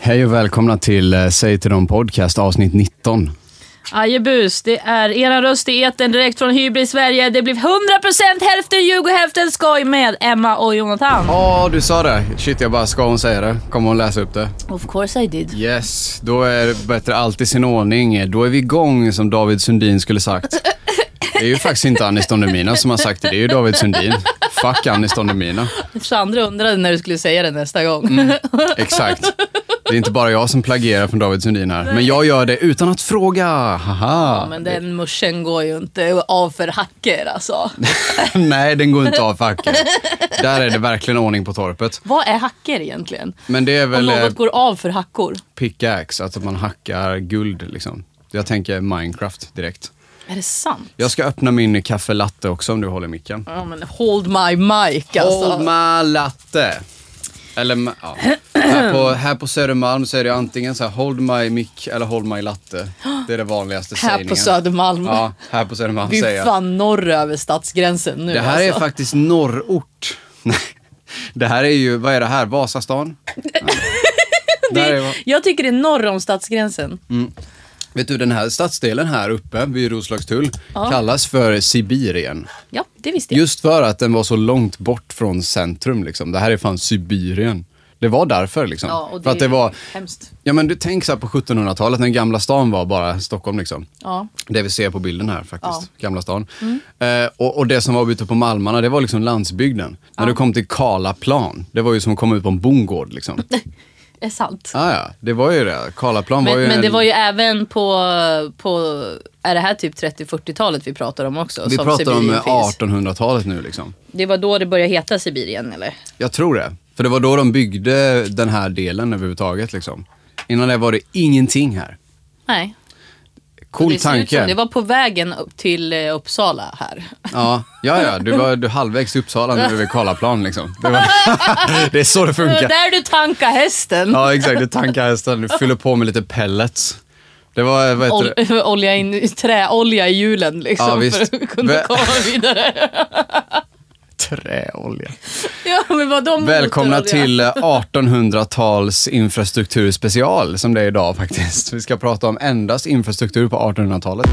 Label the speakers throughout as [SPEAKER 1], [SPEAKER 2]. [SPEAKER 1] Hej och välkomna till eh, Säg till dem podcast avsnitt 19.
[SPEAKER 2] Ajebus, det är era röst i etern direkt från Hybris Sverige. Det blev 100% hälften ljug och hälften skoj med Emma och Jonathan.
[SPEAKER 1] Ja, du sa det. Shit, jag bara, ska hon säga det? Kommer hon läsa upp det?
[SPEAKER 2] Of course I did.
[SPEAKER 1] Yes, då är bättre allt i sin ordning. Då är vi igång, som David Sundin skulle sagt. Det är ju faktiskt inte Anis Don Demina som har sagt det, det är ju David Sundin. Fuck Anis Don Demina.
[SPEAKER 2] Sandra undrade när du skulle säga det nästa gång.
[SPEAKER 1] Mm. Exakt. Det är inte bara jag som plagierar från David Sundin här. Men jag gör det utan att fråga. Haha.
[SPEAKER 2] Men den muschen går ju inte av för hacker alltså.
[SPEAKER 1] Nej, den går inte av facket. Där är det verkligen ordning på torpet.
[SPEAKER 2] Vad är hacker egentligen?
[SPEAKER 1] Men det är
[SPEAKER 2] Om
[SPEAKER 1] väl... eh,
[SPEAKER 2] något går av för hackor.
[SPEAKER 1] pickaxe, alltså att man hackar guld liksom. Jag tänker Minecraft direkt.
[SPEAKER 2] Är det sant?
[SPEAKER 1] Jag ska öppna min kaffelatte också om du håller micken.
[SPEAKER 2] Ja, men hold my mic alltså.
[SPEAKER 1] Hold my latte! Eller, ma- ja. här, på, här på Södermalm så är det antingen så här, hold my mick eller hold my latte. Det är det vanligaste
[SPEAKER 2] Här
[SPEAKER 1] sägningen.
[SPEAKER 2] på Södermalm.
[SPEAKER 1] Ja, här på Södermalm
[SPEAKER 2] Vi
[SPEAKER 1] säger
[SPEAKER 2] är
[SPEAKER 1] jag.
[SPEAKER 2] fan norr över stadsgränsen nu
[SPEAKER 1] Det här är
[SPEAKER 2] alltså.
[SPEAKER 1] faktiskt norrort. Nej, det här är ju, vad är det här? Vasastan? Det här är-
[SPEAKER 2] Jag tycker det är norr om stadsgränsen.
[SPEAKER 1] Mm. Vet du, den här stadsdelen här uppe vid Roslagstull
[SPEAKER 2] Ja.
[SPEAKER 1] kallas för Sibirien.
[SPEAKER 2] Ja, det visste jag.
[SPEAKER 1] Just för att den var så långt bort från centrum. Liksom. Det här är fan Sibirien. Det var därför. Liksom.
[SPEAKER 2] Ja, och det
[SPEAKER 1] för att det
[SPEAKER 2] är
[SPEAKER 1] var...
[SPEAKER 2] hemskt.
[SPEAKER 1] Ja, men du tänk så här på 1700-talet när Gamla stan var bara Stockholm. Liksom.
[SPEAKER 2] Ja.
[SPEAKER 1] Det vi ser på bilden här faktiskt,
[SPEAKER 2] Ja. Mm.
[SPEAKER 1] Gamla stan. Eh, och, och det som var ute på Malmarna, det var liksom landsbygden. När du kom till Karlaplan, det var ju som att komma ut på en bondgård. Liksom.
[SPEAKER 2] är sant.
[SPEAKER 1] ah, ja, det var ju det. Karlaplan var ju
[SPEAKER 2] Men, men
[SPEAKER 1] en...
[SPEAKER 2] det var ju även på, på är det här typ 30-40-talet vi pratar om också?
[SPEAKER 1] vi
[SPEAKER 2] som
[SPEAKER 1] pratar om
[SPEAKER 2] Sibirien
[SPEAKER 1] eh,
[SPEAKER 2] finns?
[SPEAKER 1] 1800-talet nu. Liksom.
[SPEAKER 2] Det var då det började heta Sibirien eller?
[SPEAKER 1] Jag tror det. För det var då de byggde den här delen överhuvudtaget. Liksom. Innan det var det ingenting här.
[SPEAKER 2] Nej.
[SPEAKER 1] Cool
[SPEAKER 2] det ser ut
[SPEAKER 1] tanke.
[SPEAKER 2] som- Det var på vägen upp till eh, Uppsala här.
[SPEAKER 1] Ja, ja, ja. Du var du är halvvägs till Uppsala nu vid Karlaplan. Liksom. Det, var... det är så det
[SPEAKER 2] Det var
[SPEAKER 1] funkar.
[SPEAKER 2] där du tankade hästen.
[SPEAKER 1] Ja, exakt. Du tankar hästen. Du fyller på med lite pellets. Det var, vad heter det?
[SPEAKER 2] Ol- olja in, i- träolja i hjulen liksom
[SPEAKER 1] Ja, visst.
[SPEAKER 2] för att kunna
[SPEAKER 1] Vä-
[SPEAKER 2] komma vidare.
[SPEAKER 1] Träolja.
[SPEAKER 2] Ja, men vad de
[SPEAKER 1] Välkomna
[SPEAKER 2] motorolja.
[SPEAKER 1] till eh, 1800-tals infrastrukturspecial som det är idag faktiskt. Vi ska prata om endast infrastruktur på 1800-talet.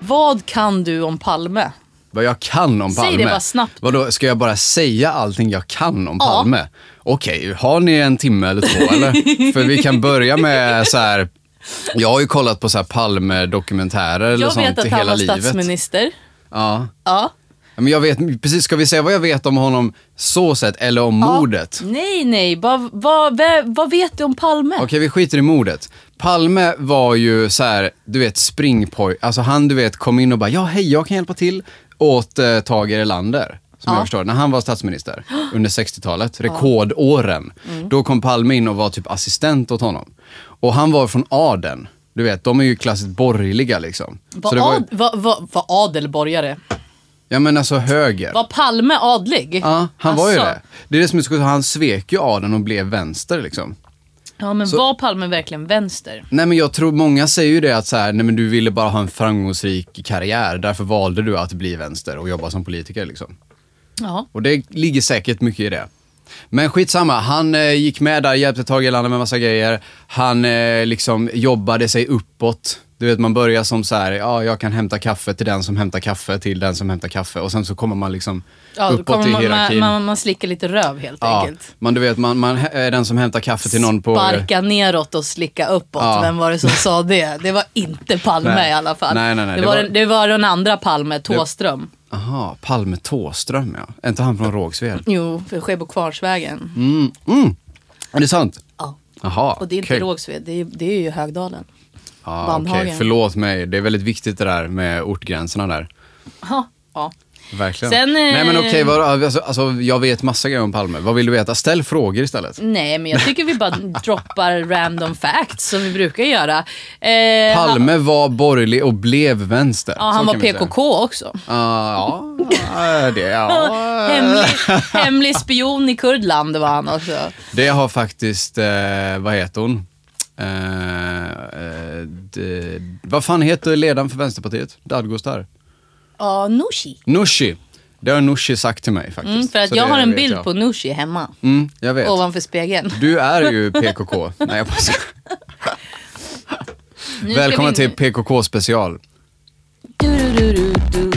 [SPEAKER 2] Vad kan du om Palme?
[SPEAKER 1] Vad jag kan om
[SPEAKER 2] Säg
[SPEAKER 1] Palme.
[SPEAKER 2] det bara snabbt.
[SPEAKER 1] Vadå, ska jag bara säga allting jag kan om
[SPEAKER 2] Ja.
[SPEAKER 1] Palme? Okej, har ni en timme eller två eller? För vi kan börja med så här. Jag har ju kollat på så här Palme-dokumentärer eller
[SPEAKER 2] Jag
[SPEAKER 1] sånt
[SPEAKER 2] vet att han
[SPEAKER 1] hela
[SPEAKER 2] var
[SPEAKER 1] livet.
[SPEAKER 2] statsminister.
[SPEAKER 1] Ja.
[SPEAKER 2] Ja.
[SPEAKER 1] Men jag vet, precis, ska vi säga vad jag vet om honom så sett eller om mordet?
[SPEAKER 2] Nej, nej. Vad, vad, vad, vad vet du om Palme?
[SPEAKER 1] Okej, vi skiter i mordet. Palme var ju så här, du vet, springpoj. Alltså han, du vet, kom in och bara, ja hej, jag kan hjälpa till. Åt eh, Tage Erlander, som jag förstår när han var statsminister under 60-talet, rekordåren. Då kom Palme in och var typ assistent åt honom. Och han var från adeln. Du vet, de är ju klassiskt borgerliga liksom.
[SPEAKER 2] Var,
[SPEAKER 1] det var,
[SPEAKER 2] ad, var, var, var adelborgare?
[SPEAKER 1] ja men alltså höger.
[SPEAKER 2] Var Palme adlig?
[SPEAKER 1] Ja, han var ju
[SPEAKER 2] Alltså.
[SPEAKER 1] det. Det är det som är så han svek ju adeln och blev vänster liksom.
[SPEAKER 2] Ja, men var Palme verkligen vänster?
[SPEAKER 1] Nej men jag tror många säger ju det att så här, nej men du ville bara ha en framgångsrik karriär, därför valde du att bli vänster och jobba som politiker liksom.
[SPEAKER 2] Ja.
[SPEAKER 1] Och det ligger säkert mycket i det. Men skitsamma, han eh, gick med där, hjälpte Tage Erlander med massa grejer. Han eh, liksom jobbade sig uppåt. Du vet man börjar som så här, ja jag kan hämta kaffe till den som hämtar kaffe till den som hämtar kaffe och sen så kommer man liksom
[SPEAKER 2] ja då
[SPEAKER 1] uppåt
[SPEAKER 2] kommer
[SPEAKER 1] i
[SPEAKER 2] man, man,
[SPEAKER 1] hierarkin.
[SPEAKER 2] man, man slickar lite röv helt
[SPEAKER 1] ja,
[SPEAKER 2] enkelt.
[SPEAKER 1] man du vet, man, man är den som hämtar kaffe till någon på...
[SPEAKER 2] Sparka neråt och slicka uppåt.
[SPEAKER 1] Ja.
[SPEAKER 2] Vem var det som sa det? Det var inte Palme
[SPEAKER 1] Nej.
[SPEAKER 2] i alla fall.
[SPEAKER 1] Nej, nej, nej,
[SPEAKER 2] Det,
[SPEAKER 1] det
[SPEAKER 2] var,
[SPEAKER 1] var-
[SPEAKER 2] den- det var den andra Palme, Tåström.
[SPEAKER 1] Aha, Palme Tåström ja. Är inte han från Rågsved?
[SPEAKER 2] Jo, för Skebo Kvarnsvägen.
[SPEAKER 1] Mm. Är det sant?
[SPEAKER 2] Ja.
[SPEAKER 1] Jaha,
[SPEAKER 2] Och det är inte
[SPEAKER 1] okej.
[SPEAKER 2] Rågsved, det är, det är ju Högdalen.
[SPEAKER 1] Ja, okej.
[SPEAKER 2] Bandhagen.
[SPEAKER 1] Förlåt mig, det är väldigt viktigt det där med ortgränserna där.
[SPEAKER 2] Aha. Ja.
[SPEAKER 1] Verkligen.
[SPEAKER 2] Sen, eh,
[SPEAKER 1] Nej men okej, vad- alltså, alltså, jag vet massa grejer om Palme. Vad vill du veta? Ställ frågor istället.
[SPEAKER 2] Nej, men jag tycker vi bara droppar random facts som vi brukar göra. Eh, Han,
[SPEAKER 1] Palme var borgerlig och blev vänster.
[SPEAKER 2] ja, han var PKK också.
[SPEAKER 1] ja, Ah, ja, det, ja.
[SPEAKER 2] Hemlig, hemlig spion i Kurdland var han också.
[SPEAKER 1] det har faktiskt, eh, vad heter hon? Eh, eh, det, vad fan heter ledaren för Vänsterpartiet? Dadgostar?
[SPEAKER 2] Ja, Nooshi.
[SPEAKER 1] Nooshi. Det har Nooshi sagt till mig faktiskt.
[SPEAKER 3] Mm, för att
[SPEAKER 1] Så
[SPEAKER 3] jag
[SPEAKER 1] det
[SPEAKER 3] har en
[SPEAKER 1] vet
[SPEAKER 3] bild
[SPEAKER 1] jag.
[SPEAKER 3] på Nooshi hemma.
[SPEAKER 1] Mm, jag vet.
[SPEAKER 3] Ovanför spegeln.
[SPEAKER 1] Du är ju PKK. Nej, jag bara skojar.
[SPEAKER 3] Nu ska
[SPEAKER 1] Välkomna
[SPEAKER 3] vi-
[SPEAKER 1] till PKK special.
[SPEAKER 3] Du-du-du-du-du.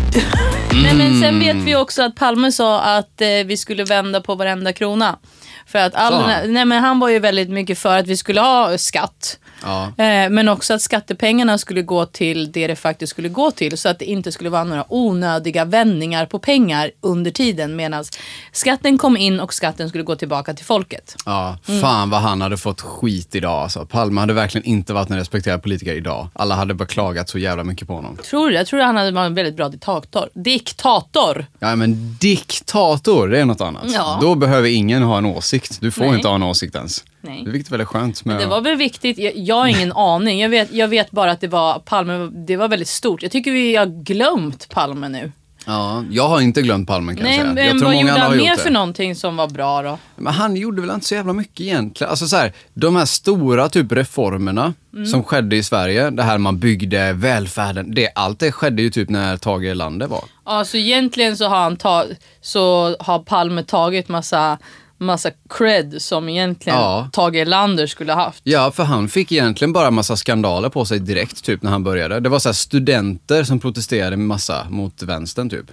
[SPEAKER 2] Nej, men sen vet vi också att Palme sa att eh, vi skulle vända på varenda krona. För att all
[SPEAKER 1] Sa
[SPEAKER 2] den
[SPEAKER 1] han?
[SPEAKER 2] här, nej, men han var ju väldigt mycket för att vi skulle ha skatt.
[SPEAKER 1] Ja.
[SPEAKER 2] Eh, Men också att skattepengarna skulle gå till det det faktiskt skulle gå till. Så att det inte skulle vara några onödiga vändningar på pengar under tiden. Medan skatten kom in och skatten skulle gå tillbaka till folket.
[SPEAKER 1] Ja,
[SPEAKER 2] Mm.
[SPEAKER 1] fan vad han hade fått skit idag alltså. Palme hade verkligen inte varit en respekterad politiker idag. Alla hade bara klagat så jävla mycket på honom.
[SPEAKER 2] Tror du? Jag tror han hade varit en väldigt bra diktator. Diktator!
[SPEAKER 1] Ja men diktator, det är något annat.
[SPEAKER 2] Ja.
[SPEAKER 1] Då behöver ingen ha en åsikt. Du får
[SPEAKER 2] Nej.
[SPEAKER 1] inte ha en åsikt ens.
[SPEAKER 2] Nej.
[SPEAKER 1] Det är vilket är väldigt skönt med...
[SPEAKER 2] Det var väl viktigt. Jag, jag har ingen aning. Jag vet, jag vet bara att det var Palme. Det var väldigt stort. Jag tycker vi har glömt Palme nu.
[SPEAKER 1] Ja, jag har inte glömt Palme kan jag
[SPEAKER 2] Nej,
[SPEAKER 1] säga.
[SPEAKER 2] men
[SPEAKER 1] jag
[SPEAKER 2] vad gjorde
[SPEAKER 1] andra har
[SPEAKER 2] han
[SPEAKER 1] gjort
[SPEAKER 2] mer
[SPEAKER 1] det.
[SPEAKER 2] för någonting som var bra då?
[SPEAKER 1] Men han gjorde väl inte så jävla mycket egentligen. Alltså så här, de här stora typ reformerna som skedde i Sverige, det här man byggde välfärden, det, allt det skedde ju typ när Tage Erlander var.
[SPEAKER 2] Ja, så egentligen så har, han ta- så har Palme tagit massa, massa cred som egentligen
[SPEAKER 1] Ja.
[SPEAKER 2] Tage Erlander skulle ha haft.
[SPEAKER 1] Ja, för han fick egentligen bara massa skandaler på sig direkt typ när han började. Det var så här studenter som protesterade med massa mot vänstern typ.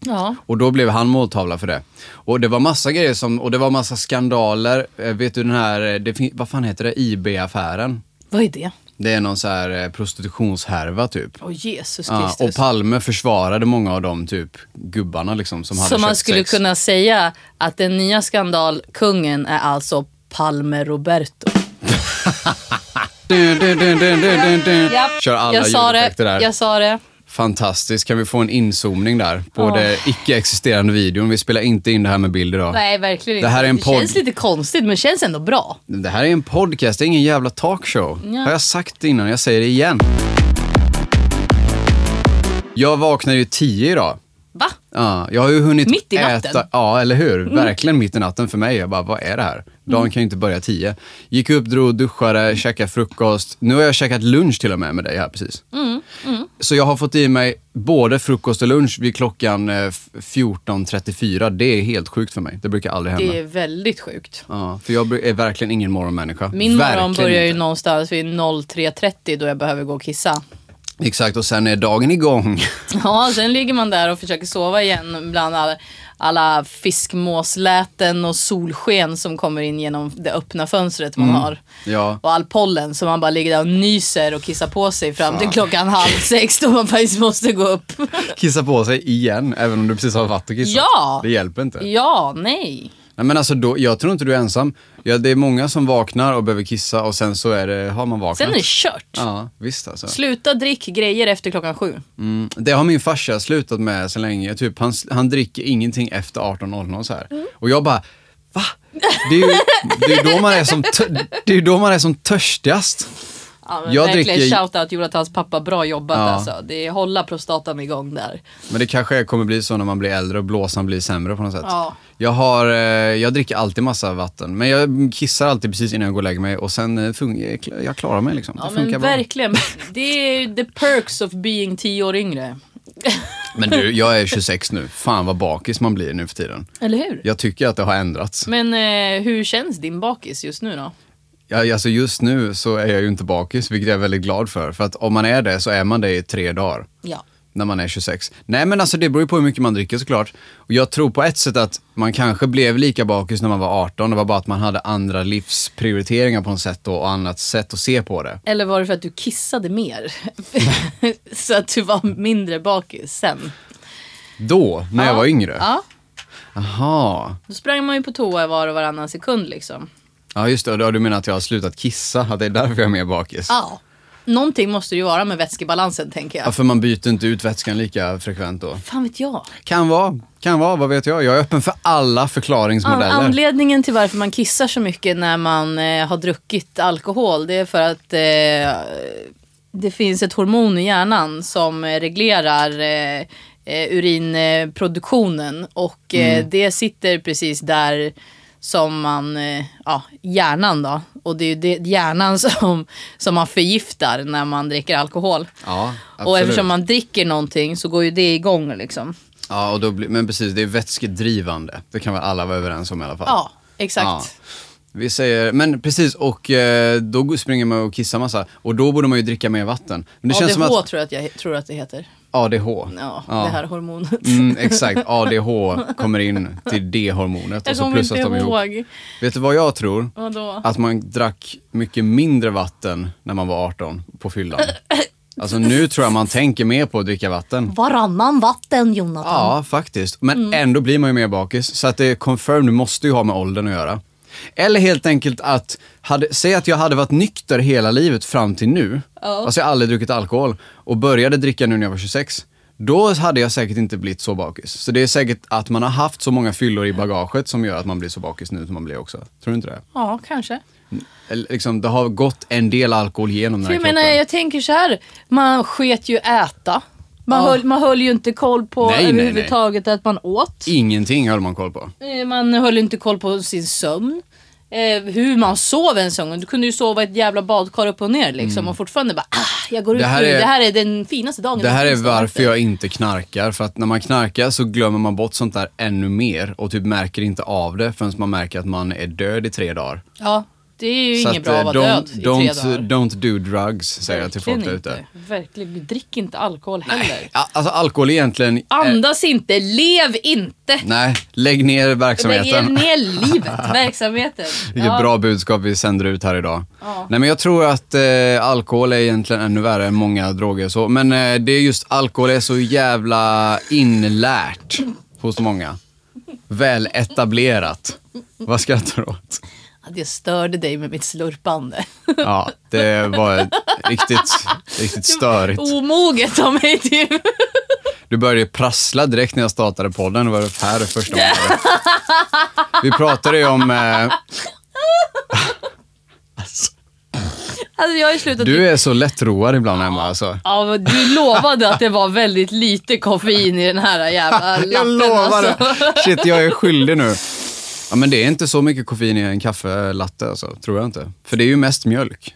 [SPEAKER 2] Ja.
[SPEAKER 1] Och då blev han måltavla för det. Och det var massa grejer som, och det var massa skandaler. Eh, vet du den här, eh, det, fin- vad fan heter det, IB-affären?
[SPEAKER 2] Vad är det?
[SPEAKER 1] Det är någon så här eh, prostitutionshärva typ.
[SPEAKER 2] Åh Jesus
[SPEAKER 1] Ja, och
[SPEAKER 2] Kristus.
[SPEAKER 1] Palme försvarade många av de typ gubbarna liksom som hade
[SPEAKER 2] så man
[SPEAKER 1] köpt
[SPEAKER 2] skulle
[SPEAKER 1] sex.
[SPEAKER 2] kunna säga att den nya skandalkungen är alltså Palme Roberto.
[SPEAKER 1] Dun, dun, dun, dun, dun, dun, dun. Kör alla
[SPEAKER 2] jag sa det.
[SPEAKER 1] ljudeffekter där.
[SPEAKER 2] Jag sa det.
[SPEAKER 1] Fantastiskt. Kan vi få en inzoomning där på
[SPEAKER 2] Ja.
[SPEAKER 1] det icke-existerande videon? Vi spelar inte in det här med bild idag.
[SPEAKER 2] Nej, verkligen inte.
[SPEAKER 1] Det här är en
[SPEAKER 2] Det
[SPEAKER 1] podd.
[SPEAKER 2] känns lite konstigt men känns ändå bra.
[SPEAKER 1] Det här är en podcast, det är ingen jävla talkshow.
[SPEAKER 2] Ja.
[SPEAKER 1] Har jag sagt det innan? Jag säger det igen. Jag vaknade ju tio idag.
[SPEAKER 2] Va?
[SPEAKER 1] Ja, jag har ju hunnit
[SPEAKER 2] Mitt i natten. Mm.
[SPEAKER 1] äta... Ja, eller hur? Verkligen mitt i natten för mig. Jag bara, vad är det här? Dagen kan ju inte börja tio. Gick upp, drog, duschade, käkade frukost. Nu har jag käkat lunch till och med med dig här precis.
[SPEAKER 2] Mm,
[SPEAKER 1] Så jag har fått i mig både frukost och lunch vid klockan eh, f- 14.34. Det är helt sjukt för mig. Det brukar aldrig hända.
[SPEAKER 2] Det är väldigt sjukt.
[SPEAKER 1] Ja, för jag bru- är verkligen ingen morgonmänniska.
[SPEAKER 2] Min morgon
[SPEAKER 1] Verkligen
[SPEAKER 2] börjar ju
[SPEAKER 1] inte.
[SPEAKER 2] någonstans vid 03.30 då jag behöver gå och kissa.
[SPEAKER 1] Exakt, och sen är dagen igång.
[SPEAKER 2] Ja, sen ligger man där och försöker sova igen bland alla, alla fiskmåsläten och solsken som kommer in genom det öppna fönstret man har.
[SPEAKER 1] Mm. ja.
[SPEAKER 2] Och all pollen som man bara ligger där och nyser och kissar på sig fram till klockan halv sex då man faktiskt måste gå upp.
[SPEAKER 1] Kissa på sig igen, även om du precis har varit och kissat.
[SPEAKER 2] Ja!
[SPEAKER 1] Det hjälper inte.
[SPEAKER 2] Ja, nej.
[SPEAKER 1] Nej, men alltså då, jag tror inte du är ensam. Ja, det är många som vaknar och behöver kissa och sen så är det, har man vaknat.
[SPEAKER 2] Sen är det kört.
[SPEAKER 1] Ja, visst alltså.
[SPEAKER 2] Sluta drick grejer efter klockan sju.
[SPEAKER 1] Mm. Det har min farsa slutat med så länge. Typ, han, han dricker ingenting efter 18.00 så här.
[SPEAKER 2] Mm.
[SPEAKER 1] Och jag bara, va? Det är ju det är då, man är som tö- det är ju då man är som törstigast.
[SPEAKER 2] Ja, men
[SPEAKER 1] Jag
[SPEAKER 2] verkligen
[SPEAKER 1] dricker-
[SPEAKER 2] shoutout Jonathans pappa, bra jobbat
[SPEAKER 1] Ja.
[SPEAKER 2] alltså. Det är hålla prostatan igång där.
[SPEAKER 1] Men det kanske kommer bli så när man blir äldre och blåsan blir sämre på något sätt.
[SPEAKER 2] Ja.
[SPEAKER 1] Jag, har, eh, jag dricker alltid massa vatten, men jag kissar alltid precis innan jag går och lägger mig och sen eh, fun- jag klarar mig liksom.
[SPEAKER 2] Ja
[SPEAKER 1] det funkar
[SPEAKER 2] men
[SPEAKER 1] bra.
[SPEAKER 2] verkligen. Det är ju the perks of being tio år yngre.
[SPEAKER 1] Men du, jag är 26 nu. Fan vad bakis man blir nu för tiden.
[SPEAKER 2] Eller hur?
[SPEAKER 1] Jag tycker att det har ändrats.
[SPEAKER 2] Men eh, hur känns din bakis just nu då?
[SPEAKER 1] Jag, alltså just nu så är jag ju inte bakis, vilket jag är väldigt glad för. För att om man är det så är man det i tre dagar.
[SPEAKER 2] Ja.
[SPEAKER 1] när man är 26. Nej men alltså det beror ju på hur mycket man dricker såklart. Och jag tror på ett sätt att man kanske blev lika bakis när man var 18. Det var bara att man hade andra livsprioriteringar på något sätt då, och annat sätt att se på det.
[SPEAKER 2] Eller var det för att du kissade mer? Så att du var mindre bakis sen?
[SPEAKER 1] Då, när jag var yngre.
[SPEAKER 2] Ja.
[SPEAKER 1] Aha.
[SPEAKER 2] Då sprang man ju på toa var och varannan sekund liksom.
[SPEAKER 1] Ja just det, och då du menar att jag har slutat kissa, att det är därför jag är mer bakis.
[SPEAKER 2] Ja. Någonting måste det ju vara med vätskebalansen tänker
[SPEAKER 1] Ja,
[SPEAKER 2] jag.
[SPEAKER 1] för man byter inte ut vätskan lika frekvent då.
[SPEAKER 2] Fan vet jag.
[SPEAKER 1] Kan vara, kan vara, vad vet jag. Jag är öppen för alla
[SPEAKER 2] An-
[SPEAKER 1] förklaringsmodeller.
[SPEAKER 2] anledningen till varför man kissar så mycket när man eh, har druckit alkohol det är för att eh, det finns ett hormon i hjärnan som eh, reglerar eh,
[SPEAKER 1] Mm.
[SPEAKER 2] urinproduktionen och eh, det sitter precis där som man, eh, ja, hjärnan då. Och det är ju det, hjärnan som, som man förgiftar när man dricker alkohol.
[SPEAKER 1] Ja,
[SPEAKER 2] Och
[SPEAKER 1] absolut.
[SPEAKER 2] eftersom man dricker någonting så går ju det igång liksom.
[SPEAKER 1] Ja, och då blir, men precis, det är vätskedrivande. Det kan väl alla vara överens om i alla fall.
[SPEAKER 2] Ja, exakt.
[SPEAKER 1] Ja. Vi säger, men precis, och eh, då springer man och kissar massa. Och då borde man ju dricka mer vatten. Men det
[SPEAKER 2] ADH
[SPEAKER 1] känns som att...
[SPEAKER 2] tror jag att jag tror att det heter.
[SPEAKER 1] ADH.
[SPEAKER 2] Ja,
[SPEAKER 1] Ja.
[SPEAKER 2] det här hormonet.
[SPEAKER 1] Mm, exakt, ADH kommer in till D-hormonet och
[SPEAKER 2] Jag
[SPEAKER 1] så
[SPEAKER 2] kommer inte
[SPEAKER 1] plussas de ihop.
[SPEAKER 2] ihåg.
[SPEAKER 1] Vet du vad jag tror?
[SPEAKER 2] Vadå?
[SPEAKER 1] Att man drack mycket mindre vatten när man var 18 på fyllan. Alltså nu tror jag man tänker mer på att dricka vatten.
[SPEAKER 2] Varannan vatten Jonathan.
[SPEAKER 1] Ja, faktiskt. Men ändå blir man ju mer bakis. Så att det är confirmed, det måste ju ha med åldern att göra. Eller helt enkelt att, hade, säg att jag hade varit nykter hela livet fram till nu. Alltså jag har aldrig druckit alkohol och började dricka nu när jag var 26. Då hade jag säkert inte blivit så bakis. Så det är säkert att man har haft så många fyllor i bagaget som gör att man blir så bakis nu som man blir också. Tror du inte det?
[SPEAKER 2] Ja, kanske.
[SPEAKER 1] Eller liksom, det har gått en del alkohol genom den här
[SPEAKER 2] För jag
[SPEAKER 1] kroppen.
[SPEAKER 2] menar, eh, jag tänker så här. Man sket ju äta. Man, höll, man höll ju inte koll på
[SPEAKER 1] Nej, nej, nej.
[SPEAKER 2] överhuvudtaget att man åt.
[SPEAKER 1] Ingenting höll man koll på.
[SPEAKER 2] Eh, Man höll inte koll på sin sömn. Eh, hur man sov en gång. Du kunde ju sova i ett jävla badkar upp och ner liksom och fortfarande bara ah, jag går ut
[SPEAKER 1] Mm. Det här
[SPEAKER 2] nu.
[SPEAKER 1] är-
[SPEAKER 2] Det här är den finaste dagen.
[SPEAKER 1] Det här är
[SPEAKER 2] finns
[SPEAKER 1] varför
[SPEAKER 2] inte.
[SPEAKER 1] jag inte knarkar, för att när man knarkar så glömmer man bort sånt där ännu mer och typ märker inte av det förrän man märker att man är död i tre dagar.
[SPEAKER 2] Ja, det är ju
[SPEAKER 1] Så
[SPEAKER 2] inget bra att vara
[SPEAKER 1] eh,
[SPEAKER 2] död i tre
[SPEAKER 1] don't,
[SPEAKER 2] dagar.
[SPEAKER 1] don't do drugs, säger jag till folk där
[SPEAKER 2] Verkligen
[SPEAKER 1] ute.
[SPEAKER 2] inte. Verkligen, drick inte alkohol heller.
[SPEAKER 1] Ja, Alltså alkohol är egentligen... eh,
[SPEAKER 2] Andas inte, lev inte.
[SPEAKER 1] nej, lägg ner
[SPEAKER 2] Lägg
[SPEAKER 1] verksamheten.
[SPEAKER 2] ner livet, verksamheten.
[SPEAKER 1] Vilket bra budskap vi sänder ut här idag.
[SPEAKER 2] Ja.
[SPEAKER 1] Nej men jag tror att eh, alkohol är egentligen ännu värre än många droger så. Men eh, det är just alkohol är så jävla inlärt hos många. Väl etablerat. Vad skrattar du åt?
[SPEAKER 2] Att jag störde dig med mitt slurpande.
[SPEAKER 1] Ja, det var riktigt, riktigt störigt.
[SPEAKER 2] Omoget av mig typ.
[SPEAKER 1] Du började prassla direkt när jag startade podden. Det var det här det första gången. Vi pratade ju om... Eh,
[SPEAKER 2] Alltså jag har ju slutat
[SPEAKER 1] du är så lättroad ibland Emma alltså.
[SPEAKER 2] Ja, men du lovade att det var väldigt lite koffein i den här jävla lappen.
[SPEAKER 1] Jag lovar det.
[SPEAKER 2] Alltså.
[SPEAKER 1] Shit, jag är skyldig nu. Ja, men det är inte så mycket koffein i en kaffelatte, alltså, tror jag inte. För det är ju mest mjölk.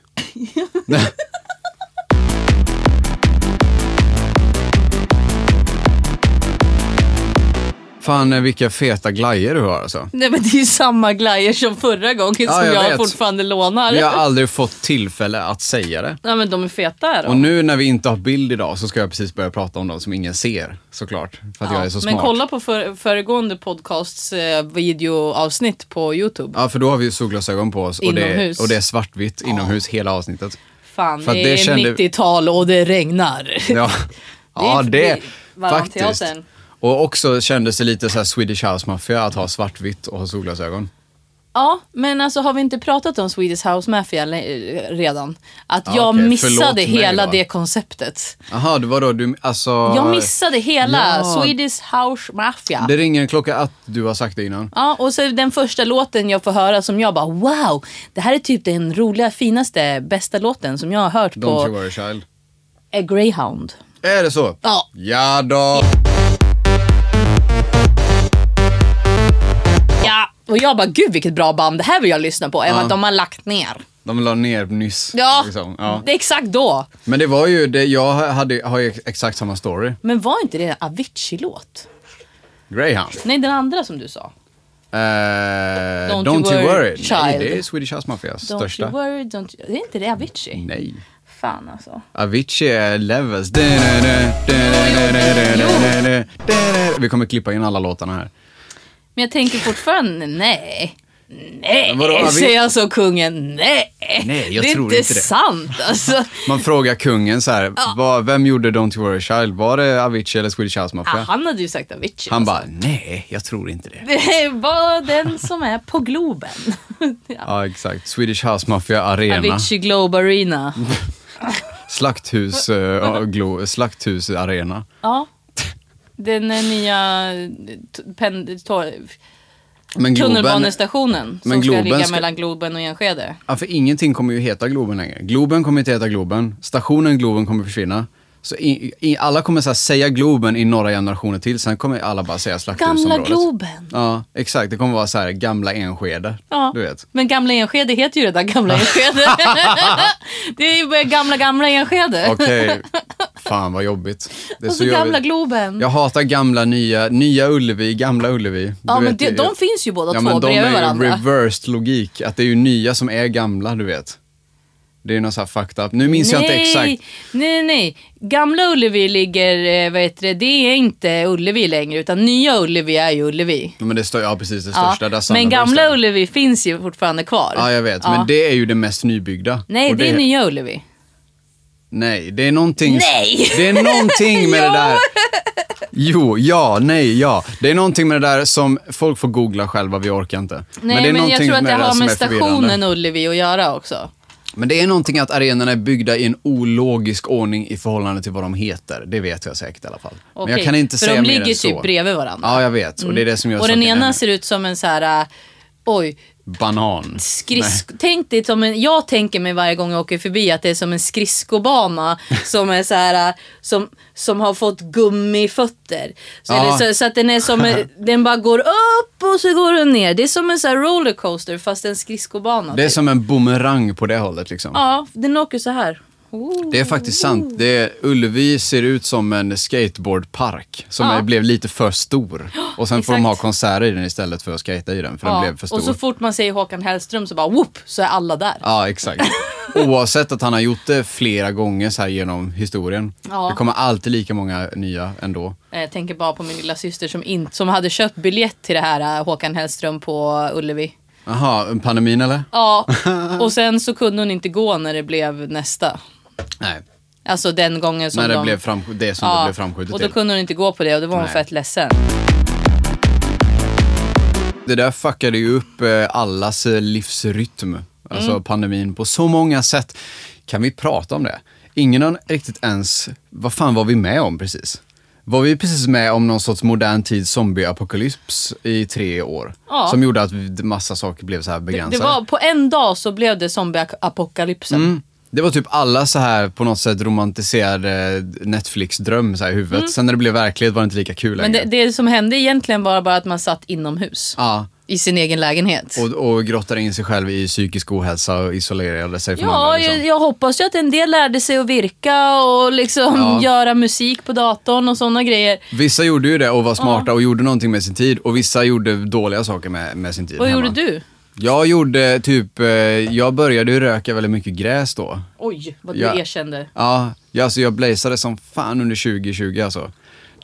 [SPEAKER 1] Fan, eh, vilka feta glajjor du har alltså.
[SPEAKER 2] Nej men det är ju samma glajjor som förra gången
[SPEAKER 1] Ja,
[SPEAKER 2] som
[SPEAKER 1] jag
[SPEAKER 2] jag,
[SPEAKER 1] vet.
[SPEAKER 2] fortfarande lånar.
[SPEAKER 1] Vi har aldrig fått tillfälle att säga det.
[SPEAKER 2] Nej men de är feta då.
[SPEAKER 1] Och nu när vi inte har bild idag så ska jag precis börja prata om dem som ingen ser, såklart. För att
[SPEAKER 2] Ja,
[SPEAKER 1] jag är så smart.
[SPEAKER 2] Men kolla på för, föregående podcasts eh, videoavsnitt på YouTube.
[SPEAKER 1] Ja, för då har vi ju solglasögon på oss och det,
[SPEAKER 2] Inomhus.
[SPEAKER 1] är, och det är svartvitt inomhus hela avsnittet.
[SPEAKER 2] Fan,
[SPEAKER 1] För att
[SPEAKER 2] det,
[SPEAKER 1] det
[SPEAKER 2] är
[SPEAKER 1] kände-
[SPEAKER 2] 90-tal och det regnar.
[SPEAKER 1] Ja, ja
[SPEAKER 2] det är-
[SPEAKER 1] det faktiskt.
[SPEAKER 2] Varanteatern.
[SPEAKER 1] Och också kändes det lite så här Swedish House Mafia att ha svartvitt och ha solglasögon.
[SPEAKER 2] Ja, men alltså har vi inte pratat om Swedish House Mafia le- eh, redan? Att
[SPEAKER 1] Ja,
[SPEAKER 2] jag
[SPEAKER 1] okej. Förlåt
[SPEAKER 2] missade
[SPEAKER 1] mig
[SPEAKER 2] hela
[SPEAKER 1] då.
[SPEAKER 2] det konceptet.
[SPEAKER 1] Jaha, det var då du, alltså...
[SPEAKER 2] Jag missade hela
[SPEAKER 1] Ja.
[SPEAKER 2] Swedish House Mafia.
[SPEAKER 1] Det ringer en klocka att du har sagt det innan.
[SPEAKER 2] Ja, och så den första låten jag får höra som jag bara wow, det här är typ den roliga, finaste, bästa låten som jag har hört
[SPEAKER 1] Don't you
[SPEAKER 2] på
[SPEAKER 1] worry child.
[SPEAKER 2] A Greyhound.
[SPEAKER 1] Är det så?
[SPEAKER 2] Ja.
[SPEAKER 1] Ja då.
[SPEAKER 2] Ja, och jag bara gud vilket bra band, det här vill jag lyssna på, även
[SPEAKER 1] Ja.
[SPEAKER 2] att de har lagt ner.
[SPEAKER 1] De la ner nyss.
[SPEAKER 2] Ja,
[SPEAKER 1] liksom. ja.
[SPEAKER 2] Det är exakt då.
[SPEAKER 1] Men det var ju, det, jag hade, har ju exakt samma story.
[SPEAKER 2] Men var inte det en Avicii-låt?
[SPEAKER 1] Greyhound.
[SPEAKER 2] Nej, den andra som du sa.
[SPEAKER 1] Eh, don't, you worry, Nej,
[SPEAKER 2] child.
[SPEAKER 1] det är Swedish House Mafias
[SPEAKER 2] Don't
[SPEAKER 1] största.
[SPEAKER 2] you worry, don't you... Det är inte det Avicii?
[SPEAKER 1] Nej.
[SPEAKER 2] Fan alltså.
[SPEAKER 1] Avicii är Levels. Vi kommer klippa in alla låtarna här.
[SPEAKER 2] Men jag tänker fortfarande nej. Nej,
[SPEAKER 1] Men vadå, Avi-
[SPEAKER 2] säger jag så kungen. Nej,
[SPEAKER 1] Nej, jag
[SPEAKER 2] det är
[SPEAKER 1] tror
[SPEAKER 2] inte
[SPEAKER 1] inte det.
[SPEAKER 2] sant alltså.
[SPEAKER 1] Man frågar kungen så här, vad, vem gjorde Don't You Worry Child? Var det Avicii eller Swedish House
[SPEAKER 2] Ah,
[SPEAKER 1] Mafia?
[SPEAKER 2] han hade ju sagt Avicii.
[SPEAKER 1] Han
[SPEAKER 2] alltså.
[SPEAKER 1] bara, nej, jag tror inte det.
[SPEAKER 2] Det var den som är på Globen. Ja.
[SPEAKER 1] Ja, exakt. Swedish House Mafia Arena.
[SPEAKER 2] Avicii Globe Arena.
[SPEAKER 1] Slakthus, eh, glo, slakthus Arena.
[SPEAKER 2] Ja. Den eh, nya t- pen- tor-
[SPEAKER 1] Men Globen,
[SPEAKER 2] tunnelbanestationen som
[SPEAKER 1] Men
[SPEAKER 2] ska
[SPEAKER 1] Globen
[SPEAKER 2] ligga
[SPEAKER 1] ska-
[SPEAKER 2] mellan Globen och Enskede.
[SPEAKER 1] ja, för ingenting kommer ju heta Globen längre. Globen kommer inte heta Globen. Stationen Globen kommer försvinna. Så i, i, alla kommer så här säga Globen i några generationer till, sen kommer alla bara säga slakthusområdet.
[SPEAKER 2] Gamla Globen.
[SPEAKER 1] Ja, exakt. Det kommer vara så här gamla Enskede.
[SPEAKER 2] Ja.
[SPEAKER 1] Du vet.
[SPEAKER 2] Men Gamla Enskede heter ju redan Gamla Enskede. det är ju bara Gamla Gamla Enskede.
[SPEAKER 1] Okej, fan vad jobbigt. Det är
[SPEAKER 2] Och så
[SPEAKER 1] jobbigt.
[SPEAKER 2] Alltså, Gamla Globen.
[SPEAKER 1] Jag hatar gamla, nya, nya Ullevi, gamla Ullevi.
[SPEAKER 2] Ja,
[SPEAKER 1] Du
[SPEAKER 2] men
[SPEAKER 1] vet,
[SPEAKER 2] det,
[SPEAKER 1] det-
[SPEAKER 2] de finns ju båda
[SPEAKER 1] Ja,
[SPEAKER 2] två
[SPEAKER 1] men de
[SPEAKER 2] bredvid
[SPEAKER 1] är ju
[SPEAKER 2] varandra.
[SPEAKER 1] reversed logik. Att det är ju nya som är gamla, du vet. Det är någon sån här fucked up. Nu minns jag inte exakt.
[SPEAKER 2] Nej, nej. Gamla Ullevi ligger, eh, vad heter det, det är inte Ullevi längre utan nya Ullevi är ju Ullevi.
[SPEAKER 1] Ja, Men det står, ja precis, det
[SPEAKER 2] Ja,
[SPEAKER 1] största. Där
[SPEAKER 2] men
[SPEAKER 1] Sandra
[SPEAKER 2] gamla
[SPEAKER 1] Bergström.
[SPEAKER 2] Ullevi finns ju fortfarande kvar.
[SPEAKER 1] Ja, jag vet.
[SPEAKER 2] Ja.
[SPEAKER 1] Men det är ju det mest nybyggda.
[SPEAKER 2] Nej,
[SPEAKER 1] Och
[SPEAKER 2] det är nya Ullevi.
[SPEAKER 1] Nej, det är någonting...
[SPEAKER 2] Nej!
[SPEAKER 1] Det är någonting med det där... Jo, ja, nej, ja. Det är någonting med det där som folk får googla själva, vi orkar inte.
[SPEAKER 2] Nej, men,
[SPEAKER 1] det är
[SPEAKER 2] jag tror att det
[SPEAKER 1] där
[SPEAKER 2] har
[SPEAKER 1] som
[SPEAKER 2] med
[SPEAKER 1] är förvirrande. Mm.
[SPEAKER 2] stationen Ullevi att göra också.
[SPEAKER 1] Men det är någonting att arenorna är byggda i en ologisk ordning i förhållande till vad de heter. Det vet jag säkert i alla fall. Men jag
[SPEAKER 2] Okej,
[SPEAKER 1] kan inte
[SPEAKER 2] För
[SPEAKER 1] säga mer
[SPEAKER 2] de ligger
[SPEAKER 1] än så.
[SPEAKER 2] typ bredvid varandra. Mm.
[SPEAKER 1] Ja, jag vet. Och det är det som gör
[SPEAKER 2] Och den
[SPEAKER 1] saken
[SPEAKER 2] ena
[SPEAKER 1] ännu-
[SPEAKER 2] ser ut som en så här, äh, oj,
[SPEAKER 1] Banan.
[SPEAKER 2] skridsk... Tänk dig som en, jag tänker mig varje gång jag åker förbi att det är som en skridskobana som är så här, äh, som, som har fått gummifötter. Så,
[SPEAKER 1] Ja.
[SPEAKER 2] eller så, så att den är som, en- den bara går upp och så går den ner. Det är som en så här rollercoaster fast en skridskobana.
[SPEAKER 1] Det är
[SPEAKER 2] typ.
[SPEAKER 1] som en bumerang på det hållet liksom.
[SPEAKER 2] Ja, den åker så här. Oh.
[SPEAKER 1] Det är faktiskt sant. Det är, Ullevi ser ut som en skateboardpark som
[SPEAKER 2] Ja.
[SPEAKER 1] är, blev lite för stor. Och sen får de ha
[SPEAKER 2] exakt.
[SPEAKER 1] konserter i den istället för att skata i den, för den
[SPEAKER 2] Ja,
[SPEAKER 1] blev för stor.
[SPEAKER 2] Och så fort man säger Håkan Hellström så bara whoop så är alla där.
[SPEAKER 1] Ja, exakt. Oavsett att han har gjort det flera gånger så här genom historien.
[SPEAKER 2] Ja.
[SPEAKER 1] Det kommer alltid lika många nya ändå.
[SPEAKER 2] Eh, Jag tänker bara på min lilla syster som, in, som hade köpt biljett till det här eh, Håkan Hellström på Ullevi.
[SPEAKER 1] Jaha, pandemin eller?
[SPEAKER 2] Ja, och sen så kunde hon inte gå när det blev nästa.
[SPEAKER 1] Nej,
[SPEAKER 2] Alltså den gången som
[SPEAKER 1] när det,
[SPEAKER 2] de...
[SPEAKER 1] blev fram, det som det blev framskjutet
[SPEAKER 2] och då
[SPEAKER 1] till.
[SPEAKER 2] kunde hon inte gå på det och då var hon
[SPEAKER 1] Nej.
[SPEAKER 2] fett ledsen.
[SPEAKER 1] Det där fuckade ju upp eh, allas eh, livsrytm, alltså
[SPEAKER 2] Mm.
[SPEAKER 1] pandemin, på så många sätt. Kan vi prata om det? Ingen har riktigt ens, vad fan var vi med om precis? Var vi precis med om någon sorts modern tids zombieapokalyps i tre år?
[SPEAKER 2] Ja.
[SPEAKER 1] Som gjorde att vi- massa saker blev så här
[SPEAKER 2] Det,
[SPEAKER 1] begränsade.
[SPEAKER 2] det var, på en dag så blev det zombieapokalypsen.
[SPEAKER 1] Mm. Det var typ alla så här på något sätt romantiserade Netflix-dröm så här i huvudet. Sen när det blev verklighet var det inte lika kul
[SPEAKER 2] Mm. Men
[SPEAKER 1] längre.
[SPEAKER 2] det, det som hände egentligen var bara att man satt inomhus.
[SPEAKER 1] Ja,
[SPEAKER 2] I sin egen lägenhet.
[SPEAKER 1] och, och grottade in sig själv i psykisk ohälsa och isolerade sig från
[SPEAKER 2] Ja,
[SPEAKER 1] andra. Liksom.
[SPEAKER 2] jag, jag hoppas ju att en del lärde sig att virka och liksom
[SPEAKER 1] Ja.
[SPEAKER 2] göra musik på datorn och sådana grejer.
[SPEAKER 1] Vissa gjorde ju det och var smarta och gjorde någonting med sin tid och vissa gjorde dåliga saker med, med sin tid
[SPEAKER 2] Vad
[SPEAKER 1] hemma.
[SPEAKER 2] gjorde du?
[SPEAKER 1] Jag gjorde typ, eh, jag började ju röka väldigt mycket gräs då.
[SPEAKER 2] Oj, vad du
[SPEAKER 1] Ja.
[SPEAKER 2] erkände.
[SPEAKER 1] Ja, jag, alltså jag blazade som fan under 2020 alltså.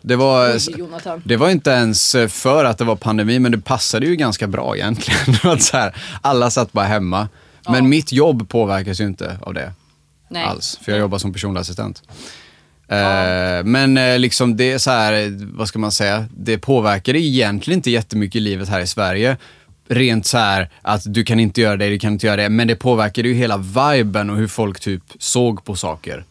[SPEAKER 1] Det var,
[SPEAKER 2] Oj, Jonathan.
[SPEAKER 1] det var inte ens eh, för att det var pandemi, men det passade ju ganska bra egentligen. Det var så här, alla satt bara hemma. Men mitt jobb påverkas ju inte av det
[SPEAKER 2] Nej.
[SPEAKER 1] alls, för jag jobbar som personlig assistent. Eh, men eh, liksom det är så här, vad ska man säga, det påverkade egentligen inte jättemycket livet här i Sverige. Rent så här att du kan inte göra det, du kan inte göra det, men det påverkade ju hela viben och hur folk typ såg på saker.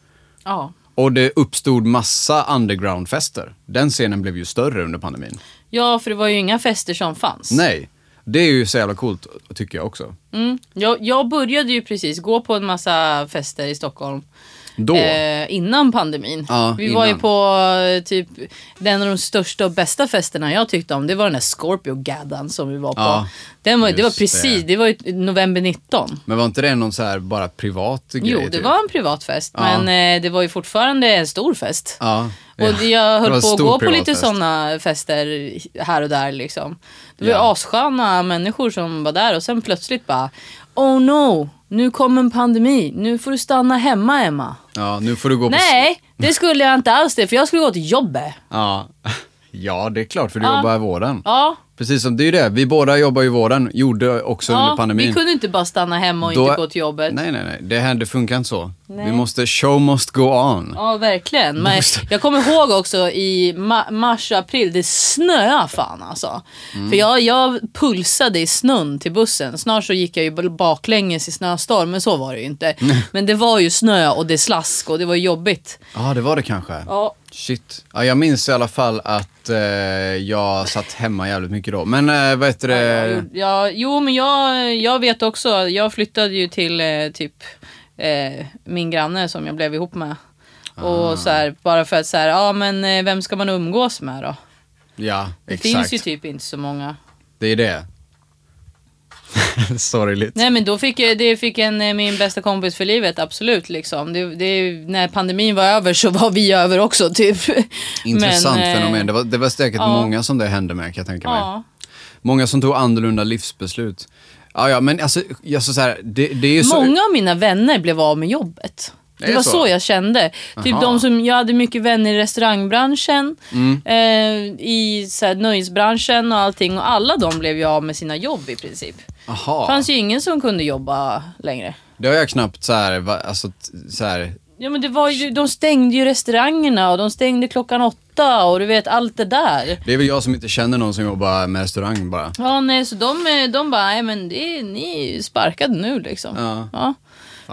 [SPEAKER 2] Ja.
[SPEAKER 1] Och det uppstod massa undergroundfester. Den scenen blev ju större under pandemin.
[SPEAKER 2] ja, för det var ju inga fester som fanns.
[SPEAKER 1] Nej, det är ju så jävla coolt tycker jag också.
[SPEAKER 2] Mm. Jag, jag började ju precis gå på en massa fester i Stockholm.
[SPEAKER 1] Då,
[SPEAKER 2] Eh, innan pandemin.
[SPEAKER 1] Ja,
[SPEAKER 2] Vi var ju
[SPEAKER 1] innan.
[SPEAKER 2] på eh, typ den av de största och bästa festerna jag tyckte om. Det var den där Scorpio Gaddan som vi var på.
[SPEAKER 1] Ja,
[SPEAKER 2] den var, ju- det var
[SPEAKER 1] just
[SPEAKER 2] precis, det,
[SPEAKER 1] det.
[SPEAKER 2] var ju november 19.
[SPEAKER 1] men var inte det någon så här bara privat grej?
[SPEAKER 2] Jo, det
[SPEAKER 1] typ?
[SPEAKER 2] var en privat fest,
[SPEAKER 1] Ja.
[SPEAKER 2] men eh, det var ju fortfarande en stor fest.
[SPEAKER 1] Ja.
[SPEAKER 2] Och det- jag
[SPEAKER 1] Det var
[SPEAKER 2] höll
[SPEAKER 1] en
[SPEAKER 2] på att
[SPEAKER 1] stor
[SPEAKER 2] gå på lite
[SPEAKER 1] privatfest.
[SPEAKER 2] sådana fester här och där liksom. Det var ju
[SPEAKER 1] Ja.
[SPEAKER 2] assköna människor som var där och sen plötsligt bara Oh no, nu kom en pandemi, nu får du stanna hemma Emma.
[SPEAKER 1] Ja, nu får du gå på...
[SPEAKER 2] Nej, det skulle jag inte alls det för jag skulle gå till jobbet.
[SPEAKER 1] Ja. ja, det är klart, för du
[SPEAKER 2] Ja.
[SPEAKER 1] jobbar i vården.
[SPEAKER 2] Ja,
[SPEAKER 1] Precis som, det är ju det. Vi båda jobbar i vården, gjorde också under
[SPEAKER 2] ja
[SPEAKER 1] pandemin.
[SPEAKER 2] vi kunde inte bara stanna hemma och
[SPEAKER 1] Då-
[SPEAKER 2] inte gå till jobbet.
[SPEAKER 1] Nej, nej, nej. Det här, det funkar inte så.
[SPEAKER 2] Nej.
[SPEAKER 1] Vi måste, show must go on.
[SPEAKER 2] Ja, verkligen. Men
[SPEAKER 1] Måste-
[SPEAKER 2] jag kommer ihåg också i ma- mars, april, det snöade fan alltså.
[SPEAKER 1] Mm.
[SPEAKER 2] För jag, jag pulsade i snön till bussen. Snart så gick jag ju baklänges i snöstorm, men så var det ju inte. Men det var ju snö och det slask och det var jobbigt.
[SPEAKER 1] Ja, det var det kanske.
[SPEAKER 2] Ja.
[SPEAKER 1] Shit. Ja, jag minns i alla fall att eh, jag satt hemma jävligt mycket då. Men eh, vad heter
[SPEAKER 2] Jag
[SPEAKER 1] det?
[SPEAKER 2] gjorde- Ja, jo, men jag, jag vet också. Jag flyttade ju till eh, typ eh, min granne som jag blev ihop med.
[SPEAKER 1] Ah.
[SPEAKER 2] Och så här, bara för att så här, ja men eh, vem ska man umgås med då?
[SPEAKER 1] Ja,
[SPEAKER 2] Det
[SPEAKER 1] exakt.
[SPEAKER 2] finns ju typ inte så många.
[SPEAKER 1] Det är det. Sorgligt.
[SPEAKER 2] Nej men då fick jag, det fick en, eh, min bästa kompis för livet, absolut liksom. Det, det, när pandemin var över så var vi över också typ.
[SPEAKER 1] Intressant
[SPEAKER 2] Men, eh,
[SPEAKER 1] fenomen. Det var, det var säkert
[SPEAKER 2] ja.
[SPEAKER 1] många som det hände med, kan jag tänka mig.
[SPEAKER 2] Ja.
[SPEAKER 1] Många som tog annorlunda livsbeslut. Ja, ja, men alltså, alltså så här, det, det är ju så...
[SPEAKER 2] Många av mina vänner blev av med jobbet.
[SPEAKER 1] Det
[SPEAKER 2] Det,
[SPEAKER 1] är
[SPEAKER 2] var
[SPEAKER 1] så.
[SPEAKER 2] så. jag kände.
[SPEAKER 1] Aha.
[SPEAKER 2] Typ
[SPEAKER 1] Mm.
[SPEAKER 2] de som, jag hade mycket vänner i restaurangbranschen, eh, i så här, nöjesbranschen och allting. Och alla de blev ju av med sina jobb i princip.
[SPEAKER 1] Aha.
[SPEAKER 2] fanns ju ingen som kunde jobba längre.
[SPEAKER 1] Det har jag knappt så här, va, alltså t- så här,
[SPEAKER 2] Ja, men det var ju, de stängde ju restaurangerna och de stängde klockan åtta och du vet allt det där.
[SPEAKER 1] det är väl jag som inte känner någon som jobbar med restaurang bara.
[SPEAKER 2] Ja, nej, så de, eh, de bara, nej men det, är- ni är ju sparkade nu liksom.
[SPEAKER 1] Ja.
[SPEAKER 2] Ja.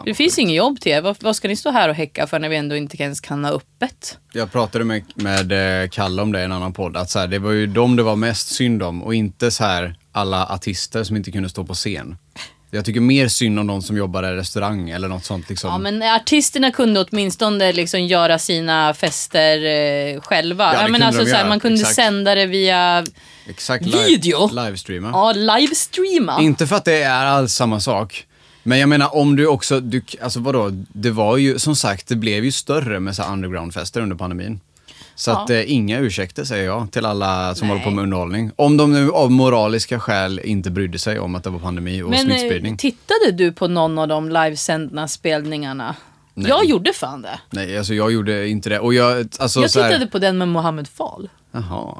[SPEAKER 2] Det finns inget jobb till er. Vad, vad ska ni stå här och häcka för när vi ändå inte ens kan ha öppet?
[SPEAKER 1] Jag pratade med, med eh, Kalle om det i en annan podd, att så här, det var ju dem det var mest synd om och inte så här alla artister som inte kunde stå på scen. Jag tycker mer synd om de som jobbar i restaurang eller något sånt liksom.
[SPEAKER 2] Ja, men artisterna kunde åtminstone liksom göra sina fester eh, själva.
[SPEAKER 1] det
[SPEAKER 2] Ja, men
[SPEAKER 1] kunde
[SPEAKER 2] alltså,
[SPEAKER 1] de
[SPEAKER 2] så här,
[SPEAKER 1] göra,
[SPEAKER 2] man kunde
[SPEAKER 1] exakt.
[SPEAKER 2] sända det via
[SPEAKER 1] Exakt,
[SPEAKER 2] Video?
[SPEAKER 1] livestreama.
[SPEAKER 2] ja, livestreama.
[SPEAKER 1] Inte för att det är alls samma sak. Men jag menar om du också, du, alltså vadå, det var ju som sagt, det blev ju större med så här undergroundfester under pandemin. Så
[SPEAKER 2] Ja.
[SPEAKER 1] att eh, inga ursäkter säger jag till alla som
[SPEAKER 2] Nej.
[SPEAKER 1] håller på med underhållning. Om de nu av moraliska skäl inte brydde sig om att det var pandemi och
[SPEAKER 2] men eh,
[SPEAKER 1] smittspridning.
[SPEAKER 2] tittade du på någon av de livesända spelningarna?
[SPEAKER 1] Nej.
[SPEAKER 2] Jag gjorde fan det.
[SPEAKER 1] Nej, alltså jag gjorde inte det. Och jag, alltså
[SPEAKER 2] Jag
[SPEAKER 1] så här,
[SPEAKER 2] tittade på den med Mohammed Fall.
[SPEAKER 1] Jaha,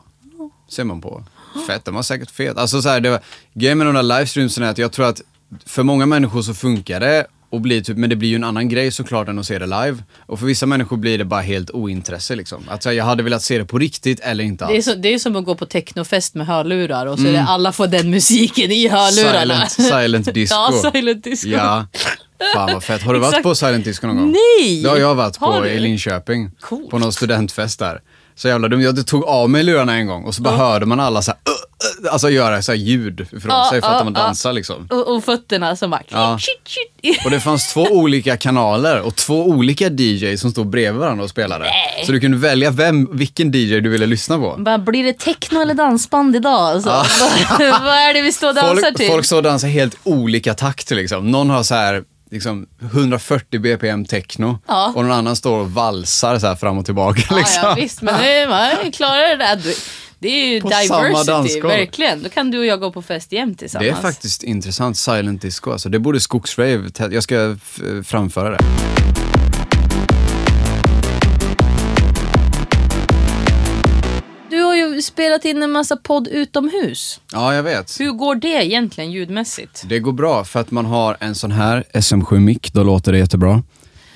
[SPEAKER 1] ser man på. Fett, den var säkert fet. Alltså så här, det var, grejen med de där livestreamsen är att jag tror att för många människor så funkar det och blir typ, men det blir ju en annan grej såklart än att se det live. Och för vissa människor blir det bara helt ointresse liksom. Att så här, jag hade velat se det på riktigt eller inte
[SPEAKER 2] Det är,
[SPEAKER 1] alls.
[SPEAKER 2] så, det är som att gå på technofest med hörlurar och så är det alla får den musiken i hörlurarna.
[SPEAKER 1] Mm. Silent, silent disco.
[SPEAKER 2] ja, silent disco.
[SPEAKER 1] Ja. Fan vad fett. Har du varit
[SPEAKER 2] Exakt.
[SPEAKER 1] på Silent Disco någon gång?
[SPEAKER 2] Nej!
[SPEAKER 1] Det har jag varit
[SPEAKER 2] Har
[SPEAKER 1] på
[SPEAKER 2] du?
[SPEAKER 1] i Linköping.
[SPEAKER 2] Coolt.
[SPEAKER 1] På någon studentfest där. Så jävla dumt. Jag tog av mig lurarna en gång och så bara hörde man alla så här, "Ugh, ugh", alltså göra så här ljud ifrån
[SPEAKER 2] Ja,
[SPEAKER 1] sig för att
[SPEAKER 2] ja,
[SPEAKER 1] man
[SPEAKER 2] ja.
[SPEAKER 1] dansar liksom.
[SPEAKER 2] Och, och fötterna som bara...
[SPEAKER 1] Ja.
[SPEAKER 2] Shit, shit.
[SPEAKER 1] Och det fanns två olika kanaler och två olika DJ som stod bredvid varandra och spelade. Så du kunde välja vem, vilken DJ du ville lyssna på.
[SPEAKER 2] Bara, blir det techno eller dansband idag? Alltså, vad, vad är det vi står och dansar typ.
[SPEAKER 1] Folk,
[SPEAKER 2] till?
[SPEAKER 1] folk står och dansar helt olika takter liksom. Någon har så här liksom 140 bpm techno
[SPEAKER 2] Ja.
[SPEAKER 1] och någon annan står och valsar så här fram och tillbaka liksom.
[SPEAKER 2] ja, ja, visst, men nu, man klarar det där. Du- Det är ju
[SPEAKER 1] På samma
[SPEAKER 2] diversity,
[SPEAKER 1] dansgolv.
[SPEAKER 2] verkligen. Då kan du och jag gå på fest
[SPEAKER 1] Det
[SPEAKER 2] jämt tillsammans.
[SPEAKER 1] är faktiskt intressant, silent disco alltså. Det borde skogsrave, te- jag ska f- framföra det.
[SPEAKER 2] Du har ju spelat in en massa podd utomhus.
[SPEAKER 1] Ja, jag vet.
[SPEAKER 2] Hur går det egentligen ljudmässigt?
[SPEAKER 1] Det går bra för att man har en sån här SM7-mick, då låter det jättebra.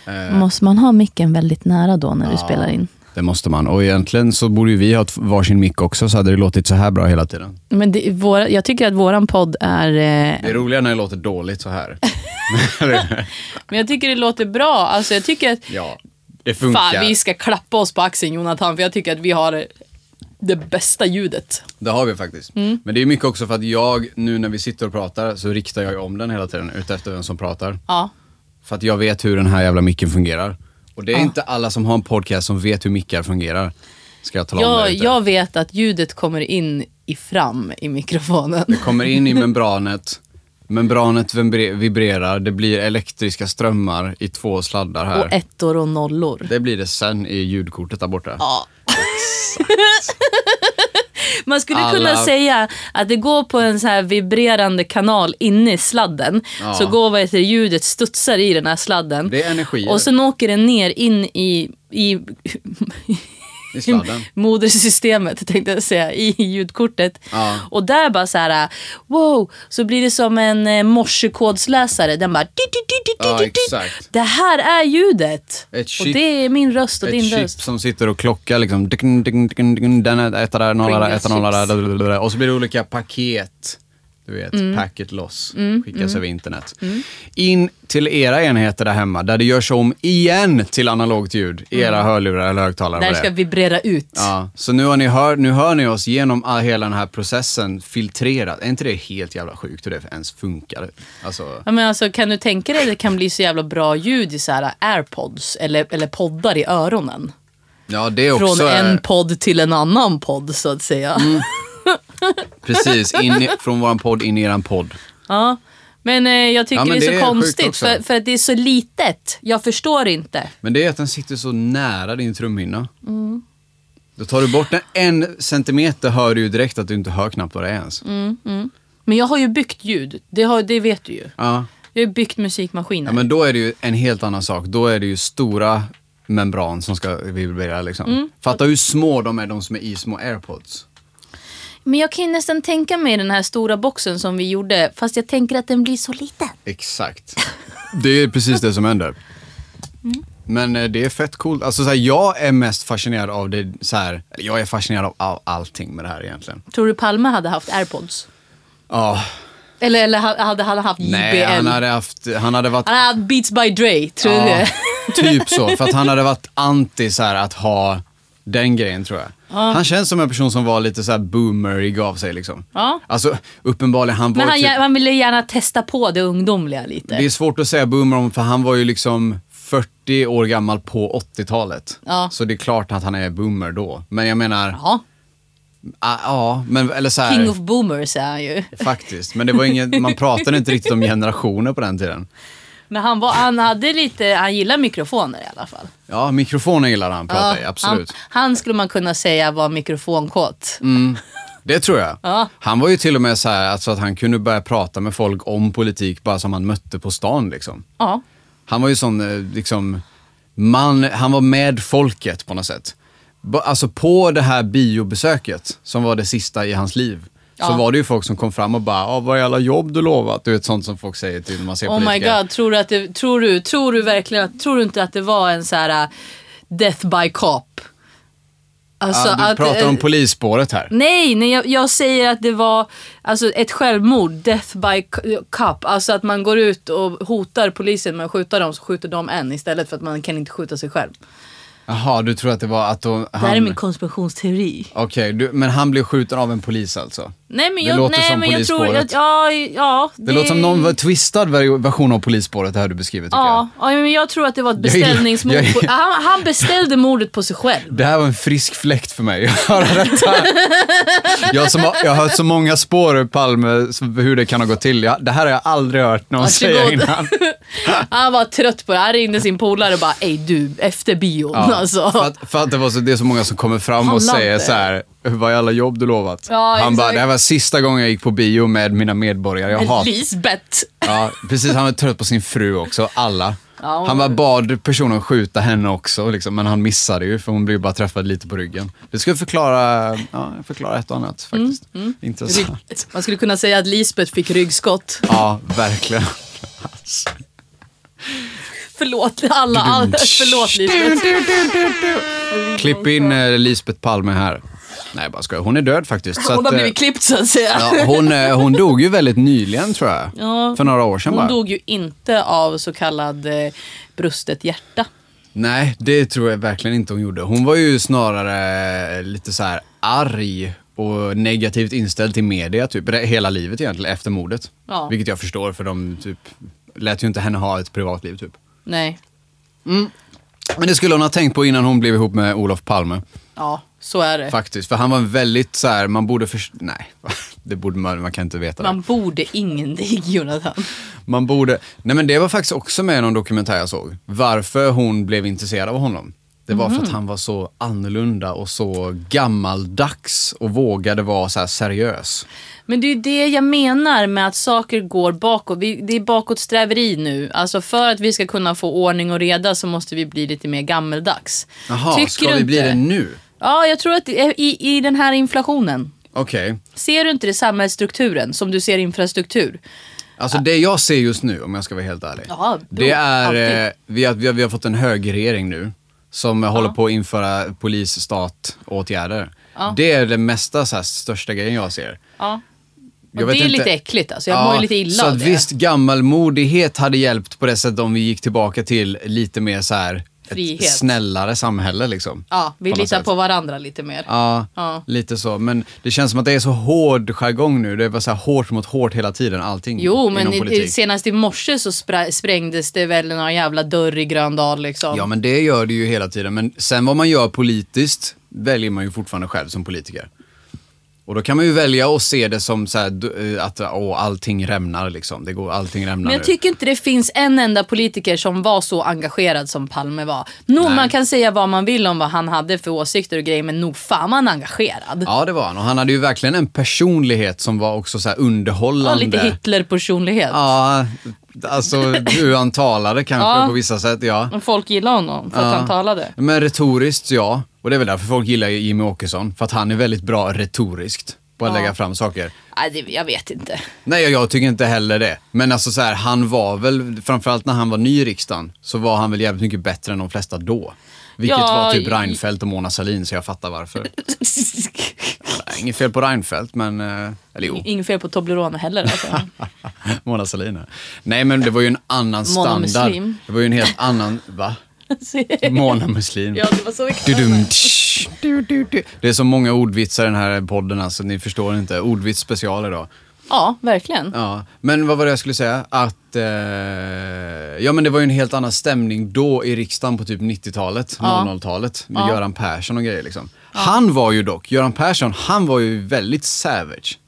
[SPEAKER 1] Eh.
[SPEAKER 2] Måste man ha micken väldigt nära då när du spelar in?
[SPEAKER 1] Det måste man. Och egentligen så borde ju vi ha ett- varsin mick också så hade det låtit så här bra hela tiden.
[SPEAKER 2] Men det, våra, jag tycker att våran podd är... eh,
[SPEAKER 1] Det är roligare när det låter dåligt så här.
[SPEAKER 2] Men jag tycker det låter bra. Alltså jag tycker att...
[SPEAKER 1] ja, det funkar.
[SPEAKER 2] Fan, vi ska klappa oss på axeln Jonathan, för jag tycker att vi har det bästa ljudet.
[SPEAKER 1] Det har vi faktiskt.
[SPEAKER 2] Mm.
[SPEAKER 1] Men det är mycket också för att jag, nu när vi sitter och pratar, så riktar jag ju om den hela tiden utefter vem som pratar.
[SPEAKER 2] Ja.
[SPEAKER 1] För att jag vet hur den här jävla micken fungerar. Och det är inte alla som har en podcast som vet hur mickar fungerar. Ska jag tala om det
[SPEAKER 2] Jag,
[SPEAKER 1] lite.
[SPEAKER 2] jag vet att ljudet kommer in i fram i mikrofonen.
[SPEAKER 1] Det kommer in i membranet. Membranet vibre- vibrerar, det blir elektriska strömmar i två sladdar här.
[SPEAKER 2] Och ettor och nollor.
[SPEAKER 1] Det blir det sen i ljudkortet där borta.
[SPEAKER 2] Ja. Man skulle kunna
[SPEAKER 1] Alla-
[SPEAKER 2] säga att det går på en så här vibrerande kanal inne i sladden.
[SPEAKER 1] Ja.
[SPEAKER 2] Så går vad heter det, ljudet studsar i den här sladden.
[SPEAKER 1] Det är energier.
[SPEAKER 2] Och sen åker den ner in i, i
[SPEAKER 1] I sladden.
[SPEAKER 2] liksom modersystemet tänkte jag säga, i ljudkortet.
[SPEAKER 1] Ja.
[SPEAKER 2] Och där bara så här, wow, så blir det som en eh, morsekodsläsare. Den bara... dit, dit, dit, dit,
[SPEAKER 1] Ja,
[SPEAKER 2] dit, dit.
[SPEAKER 1] exakt.
[SPEAKER 2] Det här är ljudet.
[SPEAKER 1] Ett chip.
[SPEAKER 2] och det är min röst och
[SPEAKER 1] Ett
[SPEAKER 2] din
[SPEAKER 1] chip
[SPEAKER 2] röst.
[SPEAKER 1] som sitter och klockar liksom. Dicken, dicken, dicken, dicken, Den är etta där, nolla där, etta, nolla där. Och så blir det olika paket Du vet,
[SPEAKER 2] Mm.
[SPEAKER 1] packet loss, skickas över internet. In till era enheter där hemma, där det görs om igen till analogt ljud i era hörlurar eller högtalare.
[SPEAKER 2] Mm.
[SPEAKER 1] vad
[SPEAKER 2] Där det
[SPEAKER 1] det
[SPEAKER 2] ska
[SPEAKER 1] är.
[SPEAKER 2] vibrera ut.
[SPEAKER 1] Ja, så nu, har ni hör, nu hör ni oss genom all, hela den här processen filtrerat. Är inte det helt jävla sjukt hur det ens funkar? Alltså,
[SPEAKER 2] Ja, men alltså, kan du tänka dig att det kan bli så jävla bra ljud i så här eh, airpods eller, eller poddar i öronen?
[SPEAKER 1] ja, det är också... eh, Mm,
[SPEAKER 2] Från en podd till en annan podd så att säga.
[SPEAKER 1] Precis, in i, från våran podd in i eran podd.
[SPEAKER 2] Ja. Men eh, jag tycker
[SPEAKER 1] Ja, men
[SPEAKER 2] det är så
[SPEAKER 1] det är sjukt
[SPEAKER 2] konstigt
[SPEAKER 1] också.
[SPEAKER 2] för, för att det är så litet. Jag förstår inte.
[SPEAKER 1] Men det är att den sitter så nära din trumhinna. Då tar du bort den en centimeter hör du ju direkt att du inte hör knappt vad det är ens.
[SPEAKER 2] Men jag har ju byggt ljud. Det, har, det vet du ju.
[SPEAKER 1] Ja.
[SPEAKER 2] Jag har ju byggt musikmaskiner.
[SPEAKER 1] ja, men då är det ju en helt annan sak. Då är det ju stora membran som ska vibrera liksom. Fatta hur små de är, de som är i små airpods.
[SPEAKER 2] Men jag kan ju nästan tänka mig den här stora boxen som vi gjorde, fast jag tänker att den blir så liten.
[SPEAKER 1] Exakt. Det är precis det som händer. Men eh, det är fett coolt. Alltså, så här, jag är mest fascinerad av det så här, eller jag är fascinerad av all, allting med det här egentligen.
[SPEAKER 2] Tror du Palme hade haft airpods?
[SPEAKER 1] Ja,
[SPEAKER 2] Eller, eller ha- hade han haft JBL?
[SPEAKER 1] nej, han hade haft, han hade varit
[SPEAKER 2] Han hade haft Beats by Dre, tror du
[SPEAKER 1] Ja,
[SPEAKER 2] det?
[SPEAKER 1] typ så. För att han hade varit anti så här, att ha den grejen tror jag. Han känns som en person som var lite så här boomerig av sig liksom.
[SPEAKER 2] Ja.
[SPEAKER 1] Alltså uppenbarligen, han var
[SPEAKER 2] Men han,
[SPEAKER 1] typ,
[SPEAKER 2] gär- han ville gärna testa på det ungdomliga lite.
[SPEAKER 1] Det är svårt att säga boomer om för han var ju liksom 40 år gammal på 80-talet.
[SPEAKER 2] Ja.
[SPEAKER 1] Så det är klart att han är boomer då. Men jag menar, ja,
[SPEAKER 2] Ja,
[SPEAKER 1] ah, ja men eller så här,
[SPEAKER 2] King of Boomers är han ju.
[SPEAKER 1] faktiskt. Men det var ingen, man pratade inte riktigt om generationer på den tiden.
[SPEAKER 2] Men han, var, han hade lite, han gillar mikrofoner i alla fall.
[SPEAKER 1] Ja, mikrofonen gillade han prata i,
[SPEAKER 2] Ja,
[SPEAKER 1] absolut. Mm.
[SPEAKER 2] Han, han skulle man kunna säga var mikrofonkåt.
[SPEAKER 1] Det tror jag.
[SPEAKER 2] Ja.
[SPEAKER 1] Han var ju till och med så här alltså att han kunde börja prata med folk om politik bara som han mötte på stan. Liksom.
[SPEAKER 2] Ja.
[SPEAKER 1] Han var ju sån eh, liksom, man, han var med folket på något sätt. Ba- Alltså på det här biobesöket som var det sista i hans liv. Så
[SPEAKER 2] Ja.
[SPEAKER 1] var det ju folk som kom fram och bara, ah, vad är alla jobb du lovat? Du vet sånt som folk säger till när man ser
[SPEAKER 2] Oh my
[SPEAKER 1] politiker.
[SPEAKER 2] god, tror du, att det, tror, du, tror du verkligen att, tror du inte att det var en så här äh, death by cop? Alltså
[SPEAKER 1] ja, du
[SPEAKER 2] att-
[SPEAKER 1] pratar om
[SPEAKER 2] eh,
[SPEAKER 1] polisspåret här.
[SPEAKER 2] Nej, nej jag, jag säger att det var alltså, ett självmord, death by c- cop. Alltså att man går ut och hotar polisen med att skjuta dem, så skjuter de en istället för att man kan inte skjuta sig själv.
[SPEAKER 1] Jaha, du tror att det var att de,
[SPEAKER 2] Det här är
[SPEAKER 1] han...
[SPEAKER 2] min konspirationsteori.
[SPEAKER 1] Okej, du- men han blev skjuten av en polis alltså?
[SPEAKER 2] Nej men
[SPEAKER 1] Det
[SPEAKER 2] jag,
[SPEAKER 1] låter
[SPEAKER 2] nej,
[SPEAKER 1] som
[SPEAKER 2] men jag tror
[SPEAKER 1] polisspåret.
[SPEAKER 2] att, ja, ja.
[SPEAKER 1] Det, låter som någon var- twistad ver- version av polisspåret, det här du beskriver tycker
[SPEAKER 2] Ja, ja, men jag tror att det var ett
[SPEAKER 1] Jag gillar-
[SPEAKER 2] beställningsmord.
[SPEAKER 1] jag-
[SPEAKER 2] på, han, han beställde mordet på sig själv.
[SPEAKER 1] jag. Det här var en frisk fläkt för mig att höra detta. Jag, som har, jag har hört så många spår ur Palme, så hur det kan ha gått till. Jag, det här har jag aldrig hört någon säga
[SPEAKER 2] Varsågod.
[SPEAKER 1] innan.
[SPEAKER 2] Han var trött på det. Han ringde sin polare och bara ej du, efter bion
[SPEAKER 1] Ja,
[SPEAKER 2] alltså.
[SPEAKER 1] för, att, för att det var så, det är så måga som kommer fram och
[SPEAKER 2] Pallar
[SPEAKER 1] säger
[SPEAKER 2] inte.
[SPEAKER 1] så här, vad är alla jobb du lovat?
[SPEAKER 2] Ja,
[SPEAKER 1] han
[SPEAKER 2] exakt.
[SPEAKER 1] bara, det här var sista gången jag gick på bio med mina medborgare. Jag hatar
[SPEAKER 2] Lisbeth.
[SPEAKER 1] Ja, precis. Han var trött på sin fru också. Alla.
[SPEAKER 2] Ja, hon-
[SPEAKER 1] han bara bad personen skjuta henne också, liksom, men han missade ju för hon blev bara träffad lite på ryggen. Det skulle förklara, ja, förklara ett och annat
[SPEAKER 2] Mm,
[SPEAKER 1] faktiskt. Intressant.
[SPEAKER 2] Man skulle kunna säga att Lisbeth fick ryggskott.
[SPEAKER 1] Ja, verkligen.
[SPEAKER 2] Förlåt alla, alla förlåt Lisbeth.
[SPEAKER 1] Klipp in eh, Lisbeth Palme här. Nej, jag bara skojar. Hon är död faktiskt. så
[SPEAKER 2] Hon har
[SPEAKER 1] att, eh,
[SPEAKER 2] blivit klippt så att säga.
[SPEAKER 1] ja, hon, eh, hon dog ju väldigt nyligen tror jag.
[SPEAKER 2] Ja.
[SPEAKER 1] För några år sedan
[SPEAKER 2] Hon
[SPEAKER 1] bara.
[SPEAKER 2] dog ju inte av så kallad eh, brustet hjärta.
[SPEAKER 1] Nej, det tror jag verkligen inte hon gjorde. Hon var ju snarare lite så här arg och negativt inställd till media typ re- hela livet egentligen efter mordet.
[SPEAKER 2] Ja.
[SPEAKER 1] Vilket jag förstår för de typ lät ju inte henne ha ett privatliv typ.
[SPEAKER 2] Nej,
[SPEAKER 1] Men det skulle hon ha tänkt på innan hon blev ihop med Olof Palme.
[SPEAKER 2] ja så är det.
[SPEAKER 1] Faktiskt, för han var en väldigt så här, man borde först... Nej, det borde man, man kan inte veta det.
[SPEAKER 2] Man borde ingenting Jonathan.
[SPEAKER 1] Man borde... Nej men det var faktiskt också med i någon dokumentär jag såg. Varför hon blev intresserad av honom. Det var
[SPEAKER 2] Mhm.
[SPEAKER 1] för att han var så annorlunda och så gammaldags och vågade vara så här seriös.
[SPEAKER 2] Men det är ju det jag menar med att saker går bakåt. Vi, det är bakåtsträveri nu. Alltså för att vi ska kunna få ordning och reda så måste vi bli lite mer gammeldags.
[SPEAKER 1] Jaha,
[SPEAKER 2] Tycker
[SPEAKER 1] ska
[SPEAKER 2] du
[SPEAKER 1] vi
[SPEAKER 2] inte?
[SPEAKER 1] bli det nu?
[SPEAKER 2] Ja, jag tror att det är i, i den här inflationen.
[SPEAKER 1] Okej.
[SPEAKER 2] Ser du inte det i samhällsstrukturen som du ser i infrastruktur?
[SPEAKER 1] Alltså det jag ser just nu, om jag ska vara helt ärlig,
[SPEAKER 2] Ja, jo,
[SPEAKER 1] det är
[SPEAKER 2] alltid.
[SPEAKER 1] eh, vi, har, vi, har, vi har fått en högerregering nu som håller på att införa polisstatåtgärder. åtgärder Det är det mesta, så här, största grejen jag ser. jag
[SPEAKER 2] Ja. det
[SPEAKER 1] vet
[SPEAKER 2] är
[SPEAKER 1] inte-
[SPEAKER 2] lite äckligt alltså. Jag mår ju lite illa
[SPEAKER 1] så
[SPEAKER 2] av
[SPEAKER 1] att
[SPEAKER 2] det.
[SPEAKER 1] visst, gammalmodighet hade hjälpt på det sättet om vi gick tillbaka till lite mer så här ett
[SPEAKER 2] Frihet.
[SPEAKER 1] snällare samhälle liksom.
[SPEAKER 2] Ja, vi
[SPEAKER 1] På något
[SPEAKER 2] litar
[SPEAKER 1] sätt.
[SPEAKER 2] på varandra lite mer.
[SPEAKER 1] Ja,
[SPEAKER 2] Ja.
[SPEAKER 1] lite så. Men det känns som att det är så hård jargong nu. Det är bara så här hårt mot hårt hela tiden, allting
[SPEAKER 2] Jo,
[SPEAKER 1] inom
[SPEAKER 2] men i, i,
[SPEAKER 1] politik.
[SPEAKER 2] senast i morse så spra- sprängdes det väl någon jävla dörr i Gröndal liksom.
[SPEAKER 1] Ja, men det gör det ju hela tiden. Men sen vad man gör politiskt väljer man ju fortfarande själv som politiker. Och då kan man ju välja och se det som så här, du- eh, att åh, allting rämnar liksom. Det går, allting rämnar
[SPEAKER 2] Men jag
[SPEAKER 1] nu.
[SPEAKER 2] tycker inte det finns en enda politiker som var så engagerad som Palme var. Nog man kan säga vad man vill om vad han hade för åsikter och grejer men nog fan man engagerad.
[SPEAKER 1] Ja, det var han. Och han hade ju verkligen en personlighet som var också så här
[SPEAKER 2] Ja,
[SPEAKER 1] underhållande.
[SPEAKER 2] lite Hitler-personlighet.
[SPEAKER 1] Ja, alltså hur han talade kanske
[SPEAKER 2] Ja.
[SPEAKER 1] på vissa sätt, ja.
[SPEAKER 2] Men Folk gillade honom för att
[SPEAKER 1] Ja.
[SPEAKER 2] han talade.
[SPEAKER 1] Men retoriskt, ja. Och det är väl därför folk gillar Jimmy Åkesson. För att han är väldigt bra retoriskt på att
[SPEAKER 2] Ja.
[SPEAKER 1] lägga fram saker.
[SPEAKER 2] Nej, det, jag vet inte.
[SPEAKER 1] Nej, jag tycker inte heller det. Men alltså så här, han var väl, framförallt när han var ny i riksdagen, så var han väl jävligt mycket bättre än de flesta då. Vilket
[SPEAKER 2] Ja,
[SPEAKER 1] var typ
[SPEAKER 2] i-
[SPEAKER 1] Reinfeldt och Mona Sahlin, så jag fattar varför. Nej, Inget fel på Reinfeldt, men... eh, Eller jo,
[SPEAKER 2] Inget fel på Toblerone heller. Alltså.
[SPEAKER 1] Mona Sahlin. här. Nej, men det var ju en annan
[SPEAKER 2] Mona
[SPEAKER 1] standard.
[SPEAKER 2] Muslim.
[SPEAKER 1] Det var ju en helt annan... Va? Mona Muslim.
[SPEAKER 2] ja, det var så vi kallade
[SPEAKER 1] Du-dum,
[SPEAKER 2] det.
[SPEAKER 1] tsch, du, du, du. Det är så många ordvitsar i den här podden, alltså ni förstår inte. Ordvits special idag.
[SPEAKER 2] Ja, verkligen.
[SPEAKER 1] Ja, men vad var det jag skulle säga? Att, eh, ja men det var ju en helt annan stämning då i riksdagen på typ 90-talet,
[SPEAKER 2] Ja.
[SPEAKER 1] 00-talet. Med Göran Persson och grejer liksom. Han var ju dock, Göran Persson, han var ju väldigt savage.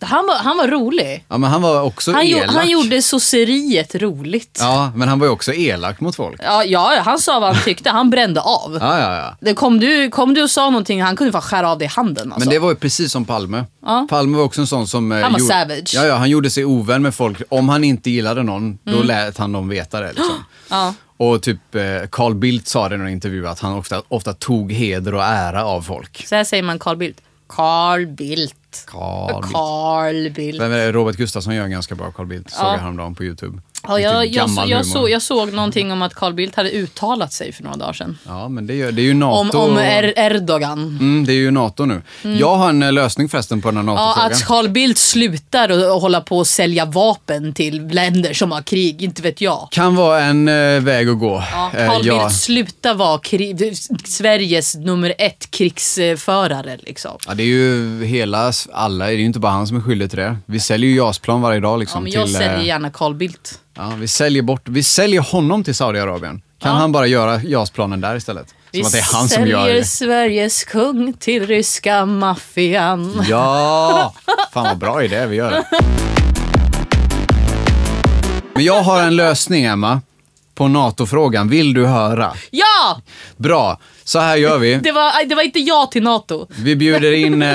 [SPEAKER 2] Han var, han var rolig.
[SPEAKER 1] Ja men han var också
[SPEAKER 2] Han, gjo-
[SPEAKER 1] elak.
[SPEAKER 2] han gjorde sosseriet roligt.
[SPEAKER 1] Ja, men han var ju också elak mot folk.
[SPEAKER 2] Ja, ja, han sa vad han tyckte. Han brände av.
[SPEAKER 1] Ja, ja, ja.
[SPEAKER 2] Det kom, du, kom du och sa någonting, han kunde fan skära av dig handen alltså.
[SPEAKER 1] Men det var ju precis som Palme.
[SPEAKER 2] Ja.
[SPEAKER 1] Palme var också en sån som... eh,
[SPEAKER 2] Han var
[SPEAKER 1] gjorde-
[SPEAKER 2] savage.
[SPEAKER 1] Ja, ja, han gjorde sig ovän med folk. Om han inte gillade någon, då lät han dem veta det. Liksom.
[SPEAKER 2] Mm. Ja.
[SPEAKER 1] Och typ eh, Carl Bildt sa det i någon intervju att han ofta, ofta tog heder och ära av folk.
[SPEAKER 2] Så här säger man Carl Bildt. Carl Bildt.
[SPEAKER 1] Carl Bildt.
[SPEAKER 2] Carl Bildt.
[SPEAKER 1] Vem är det? Robert Gustafsson gör en ganska bra Carl Bildt, såg
[SPEAKER 2] Ja.
[SPEAKER 1] jag häromdagen på YouTube.
[SPEAKER 2] Ja,
[SPEAKER 1] Riktigt
[SPEAKER 2] jag, jag, så,
[SPEAKER 1] gammal
[SPEAKER 2] jag,
[SPEAKER 1] humor.
[SPEAKER 2] så, jag såg någonting om att Carl Bildt hade uttalat sig för några dagar sedan.
[SPEAKER 1] Ja, men det, gör, det är ju NATO.
[SPEAKER 2] Om, om er, Erdogan.
[SPEAKER 1] Mm, det är ju NATO nu. Jag har en eh, lösning förresten på den här
[SPEAKER 2] Ja,
[SPEAKER 1] NATO-frågan.
[SPEAKER 2] att Carl Bildt slutar och, och hålla på och sälja vapen till länder som har krig, inte vet jag.
[SPEAKER 1] Kan vara en eh, väg att gå.
[SPEAKER 2] Ja,
[SPEAKER 1] Eh,
[SPEAKER 2] Carl
[SPEAKER 1] ja.
[SPEAKER 2] Bildt, sluta vara krig, Sveriges nummer ett krigsförare liksom.
[SPEAKER 1] Ja, det är ju hela, alla, det är ju inte bara han som är skyldig till det. Vi säljer ju JAS-plan varje dag
[SPEAKER 2] Ja,
[SPEAKER 1] liksom.
[SPEAKER 2] men jag
[SPEAKER 1] till, eh,
[SPEAKER 2] säljer gärna Carl Bildt.
[SPEAKER 1] ja, vi säljer bort, vi säljer honom till Saudiarabien. Kan han bara göra JAS-planen där istället? Som att det är han som gör
[SPEAKER 2] säljer
[SPEAKER 1] det.
[SPEAKER 2] Sveriges kung till ryska maffian.
[SPEAKER 1] Ja! Fan vad bra idé, vi gör det. Men jag har en lösning Emma, på NATO-frågan. Vill du höra?
[SPEAKER 2] Ja!
[SPEAKER 1] Bra, så här gör vi.
[SPEAKER 2] Det var, det var inte ja till NATO.
[SPEAKER 1] Vi bjuder in... Eh,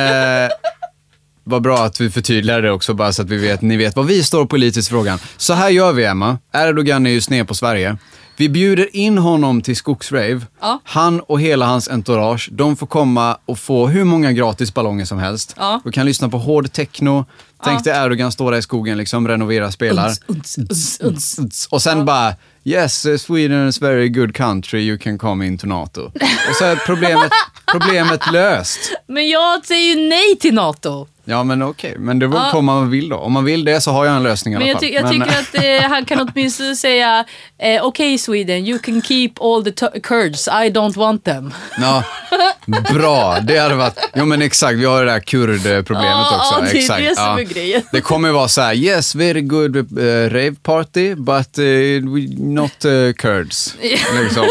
[SPEAKER 1] vad bra att vi förtydligar det också, bara så att vi vet, ni vet var vi står politiskt i frågan. Så här gör vi, Emma. Erdogan är ju sned på Sverige. Vi bjuder in honom till skogsrave.
[SPEAKER 2] Ja.
[SPEAKER 1] Han och hela hans entourage, de får komma och få hur många gratis ballonger som helst.
[SPEAKER 2] Ja.
[SPEAKER 1] Du kan lyssna på hård techno. Tänk dig Erdogan står där i skogen, liksom, renoverar, spelar.
[SPEAKER 2] Uns, uns, uns, uns.
[SPEAKER 1] Och sen bara, yes, eh, Sweden is a very good country, you can come into NATO. Och så är problemet, problemet löst.
[SPEAKER 2] Men jag säger ju nej till NATO.
[SPEAKER 1] Ja men okej, men det beror på
[SPEAKER 2] Ja.
[SPEAKER 1] om man vill då. Om man vill det så har jag en lösning i
[SPEAKER 2] Men
[SPEAKER 1] alla
[SPEAKER 2] jag,
[SPEAKER 1] fall.
[SPEAKER 2] ty- jag tycker att eh, han kan åtminstone säga eh, okej Sweden, you can keep all the tu- Kurds, I don't want them.
[SPEAKER 1] Ja, bra, det hade vavarit... Jo men exakt, vi har det där kurdproblemet
[SPEAKER 2] Ja,
[SPEAKER 1] också.
[SPEAKER 2] ja, det är
[SPEAKER 1] exakt.
[SPEAKER 2] det som är grejen.
[SPEAKER 1] Det kommer vara så här, yes very good eh, rave party but eh, we not eh, kurds. Liksom.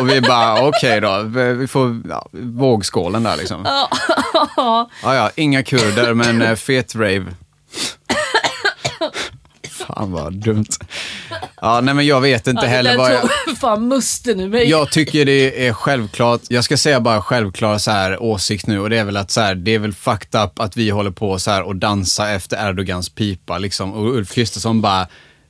[SPEAKER 1] Och vi bara okej då, vi får ja, vågskålen där liksom. Ja, ja, inga kurder men eh, fet rave. Fan vad dumt. Ja, nej men jag vet inte
[SPEAKER 2] Ja, det
[SPEAKER 1] heller
[SPEAKER 2] där
[SPEAKER 1] vad jag...
[SPEAKER 2] tog fan musten ur mig.
[SPEAKER 1] Jag tycker det är självklart, jag ska säga bara självklar så här åsikt nu och det är väl att så här, det är väl fucked up att vi håller på så här och dansa efter Erdogans pipa liksom och Ulf Kristersson bara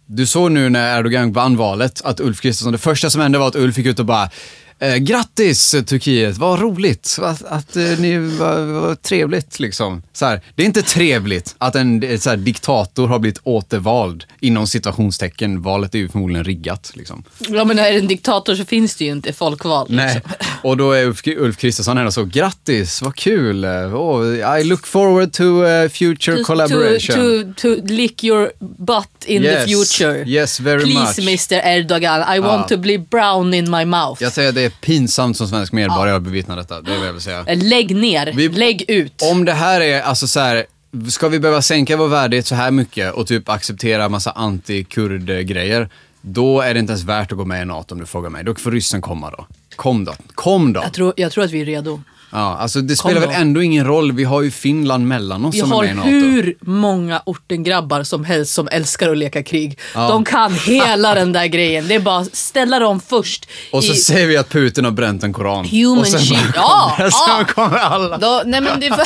[SPEAKER 1] du såg nu när Erdogan vann valet att Ulf Kristersson, det första som hände var att Ulf gick ut och bara Eh, grattis eh, Turkiet, vad roligt att, att eh, ni var, var trevligt liksom. Så här, det är inte trevligt att en eh, så här, diktator har blivit återvald inom citationstecken. Valet är ju förmodligen riggat liksom.
[SPEAKER 2] Ja men är det en diktator så finns det ju inte folkval.
[SPEAKER 1] Nej.
[SPEAKER 2] liksom.
[SPEAKER 1] Och då är Ulf, Ulf Kristersson ändå så, grattis, vad kul. eh, Oh, I look forward to eh, future collaboration.
[SPEAKER 2] To, to, to lick your butt in
[SPEAKER 1] Yes.
[SPEAKER 2] the future.
[SPEAKER 1] Yes, very
[SPEAKER 2] Please
[SPEAKER 1] much. Ah.
[SPEAKER 2] Mr Erdogan, I want to bli brown in my mouth.
[SPEAKER 1] Jag säger att det är pinsamt som svensk medborgare att bevittna detta. Det är vad jag vill säga.
[SPEAKER 2] Eh, Lägg ner,
[SPEAKER 1] Vi-
[SPEAKER 2] lägg ut.
[SPEAKER 1] Om det här är, alltså så här, ska vi behöva sänka vår värdighet så här mycket och typ acceptera massa anti-kurd-grejer, då är det inte ens värt att gå med i NATO om du frågar mig. Då får ryssen komma då. Kom då. Kom då.
[SPEAKER 2] Jag tror, jag tror att vi är redo.
[SPEAKER 1] Ja, alltså det spelar
[SPEAKER 2] då.
[SPEAKER 1] väl ändå ingen roll, vi har ju Finland mellan oss
[SPEAKER 2] Vi
[SPEAKER 1] som är
[SPEAKER 2] har
[SPEAKER 1] med i NATO.
[SPEAKER 2] hur många ortengrabbar som helst som älskar att leka krig. De kan hela den där grejen. Det är bara att ställa dem först.
[SPEAKER 1] Och så
[SPEAKER 2] i,
[SPEAKER 1] säger vi att Putin har bränt en koran.
[SPEAKER 2] Human
[SPEAKER 1] och sen bara
[SPEAKER 2] shield.
[SPEAKER 1] kommer,
[SPEAKER 2] Ja, ja.
[SPEAKER 1] sen kommer alla.
[SPEAKER 2] då, nej men det är för...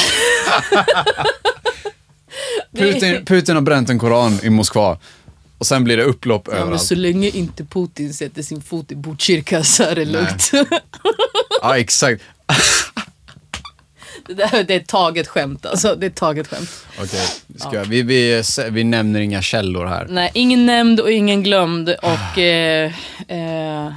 [SPEAKER 1] Putin, Putin har bränt en koran i Moskva. Och sen blir det upplopp
[SPEAKER 2] Ja, men
[SPEAKER 1] överallt.
[SPEAKER 2] så länge inte Putin sätter sin fot i Botkyrka så är det lugnt.
[SPEAKER 1] Ja, exakt.
[SPEAKER 2] Det, där, det är taget skämt alltså. Det är taget skämt.
[SPEAKER 1] Okej, ska jag- vi, vi, vi nämner inga källor här.
[SPEAKER 2] Nej, ingen nämnd och ingen glömd
[SPEAKER 1] Ah.
[SPEAKER 2] och... Eh, eh,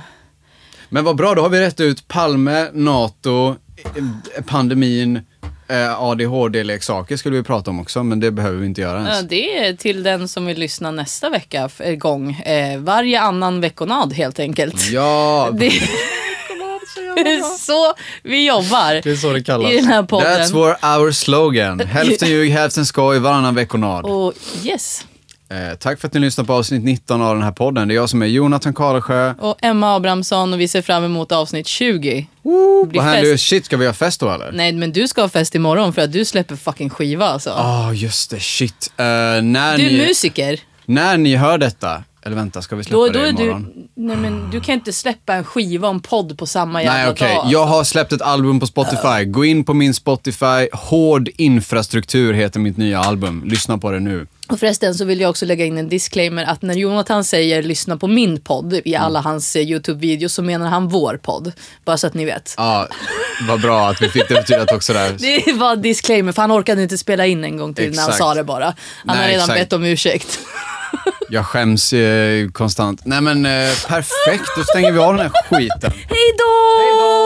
[SPEAKER 1] Men vad bra, då har vi rätt ut Palme, NATO, eh, pandemin, eh, ADHD-leksaker skulle vi prata om också, men det behöver vi inte göra ens.
[SPEAKER 2] ja, det är till den som vill lyssna nästa vecka f- eh, gång. Eh, varje annan veckonad helt enkelt.
[SPEAKER 1] Ja,
[SPEAKER 2] Det är så vi jobbar.
[SPEAKER 1] det är så det kallas.
[SPEAKER 2] I den här podden.
[SPEAKER 1] That's vår our slogan. Hälften ljug, hälften skoj, varannan veckonad.
[SPEAKER 2] Och yes.
[SPEAKER 1] Eh, tack för att ni lyssnar på avsnitt 19 av den här podden. Det är jag som är Jonathan Karlsjö.
[SPEAKER 2] Och Emma Abrahamsson och vi ser fram emot avsnitt 20. blir
[SPEAKER 1] Vad händer?
[SPEAKER 2] fest.
[SPEAKER 1] Shit, ska vi ha fest då eller?
[SPEAKER 2] Nej men du ska ha fest imorgon för att du släpper fucking skiva alltså.
[SPEAKER 1] Ah, just det. Shit. Eh, när,
[SPEAKER 2] du är
[SPEAKER 1] ni,
[SPEAKER 2] musiker.
[SPEAKER 1] när ni hör detta, eller vänta, ska vi släppa
[SPEAKER 2] Då, då
[SPEAKER 1] det
[SPEAKER 2] är du,
[SPEAKER 1] imorgon?
[SPEAKER 2] nej men du kan inte släppa en skiva och en podd på samma jävla
[SPEAKER 1] Nej, okej.
[SPEAKER 2] dag. alltså.
[SPEAKER 1] Jag har släppt ett album på Spotify. Gå in på min Spotify. Hård infrastruktur heter mitt nya album. Lyssna på det nu.
[SPEAKER 2] Och förresten så vill jag också lägga in en disclaimer att när Jonathan säger lyssna på min podd
[SPEAKER 1] Mm.
[SPEAKER 2] i alla hans eh, Youtube-videos så menar han vår podd. Bara så att ni vet.
[SPEAKER 1] Ja, vad bra att vi fick det betydat också där.
[SPEAKER 2] Det var disclaimer för han orkade inte spela in en gång till när han
[SPEAKER 1] Exakt.
[SPEAKER 2] sa det bara. Han har
[SPEAKER 1] Nej,
[SPEAKER 2] redan
[SPEAKER 1] exakt.
[SPEAKER 2] bett om ursäkt.
[SPEAKER 1] Jag skäms eh, konstant. Nej men eh, perfekt, då stänger vi av den här skiten.
[SPEAKER 2] Hej då!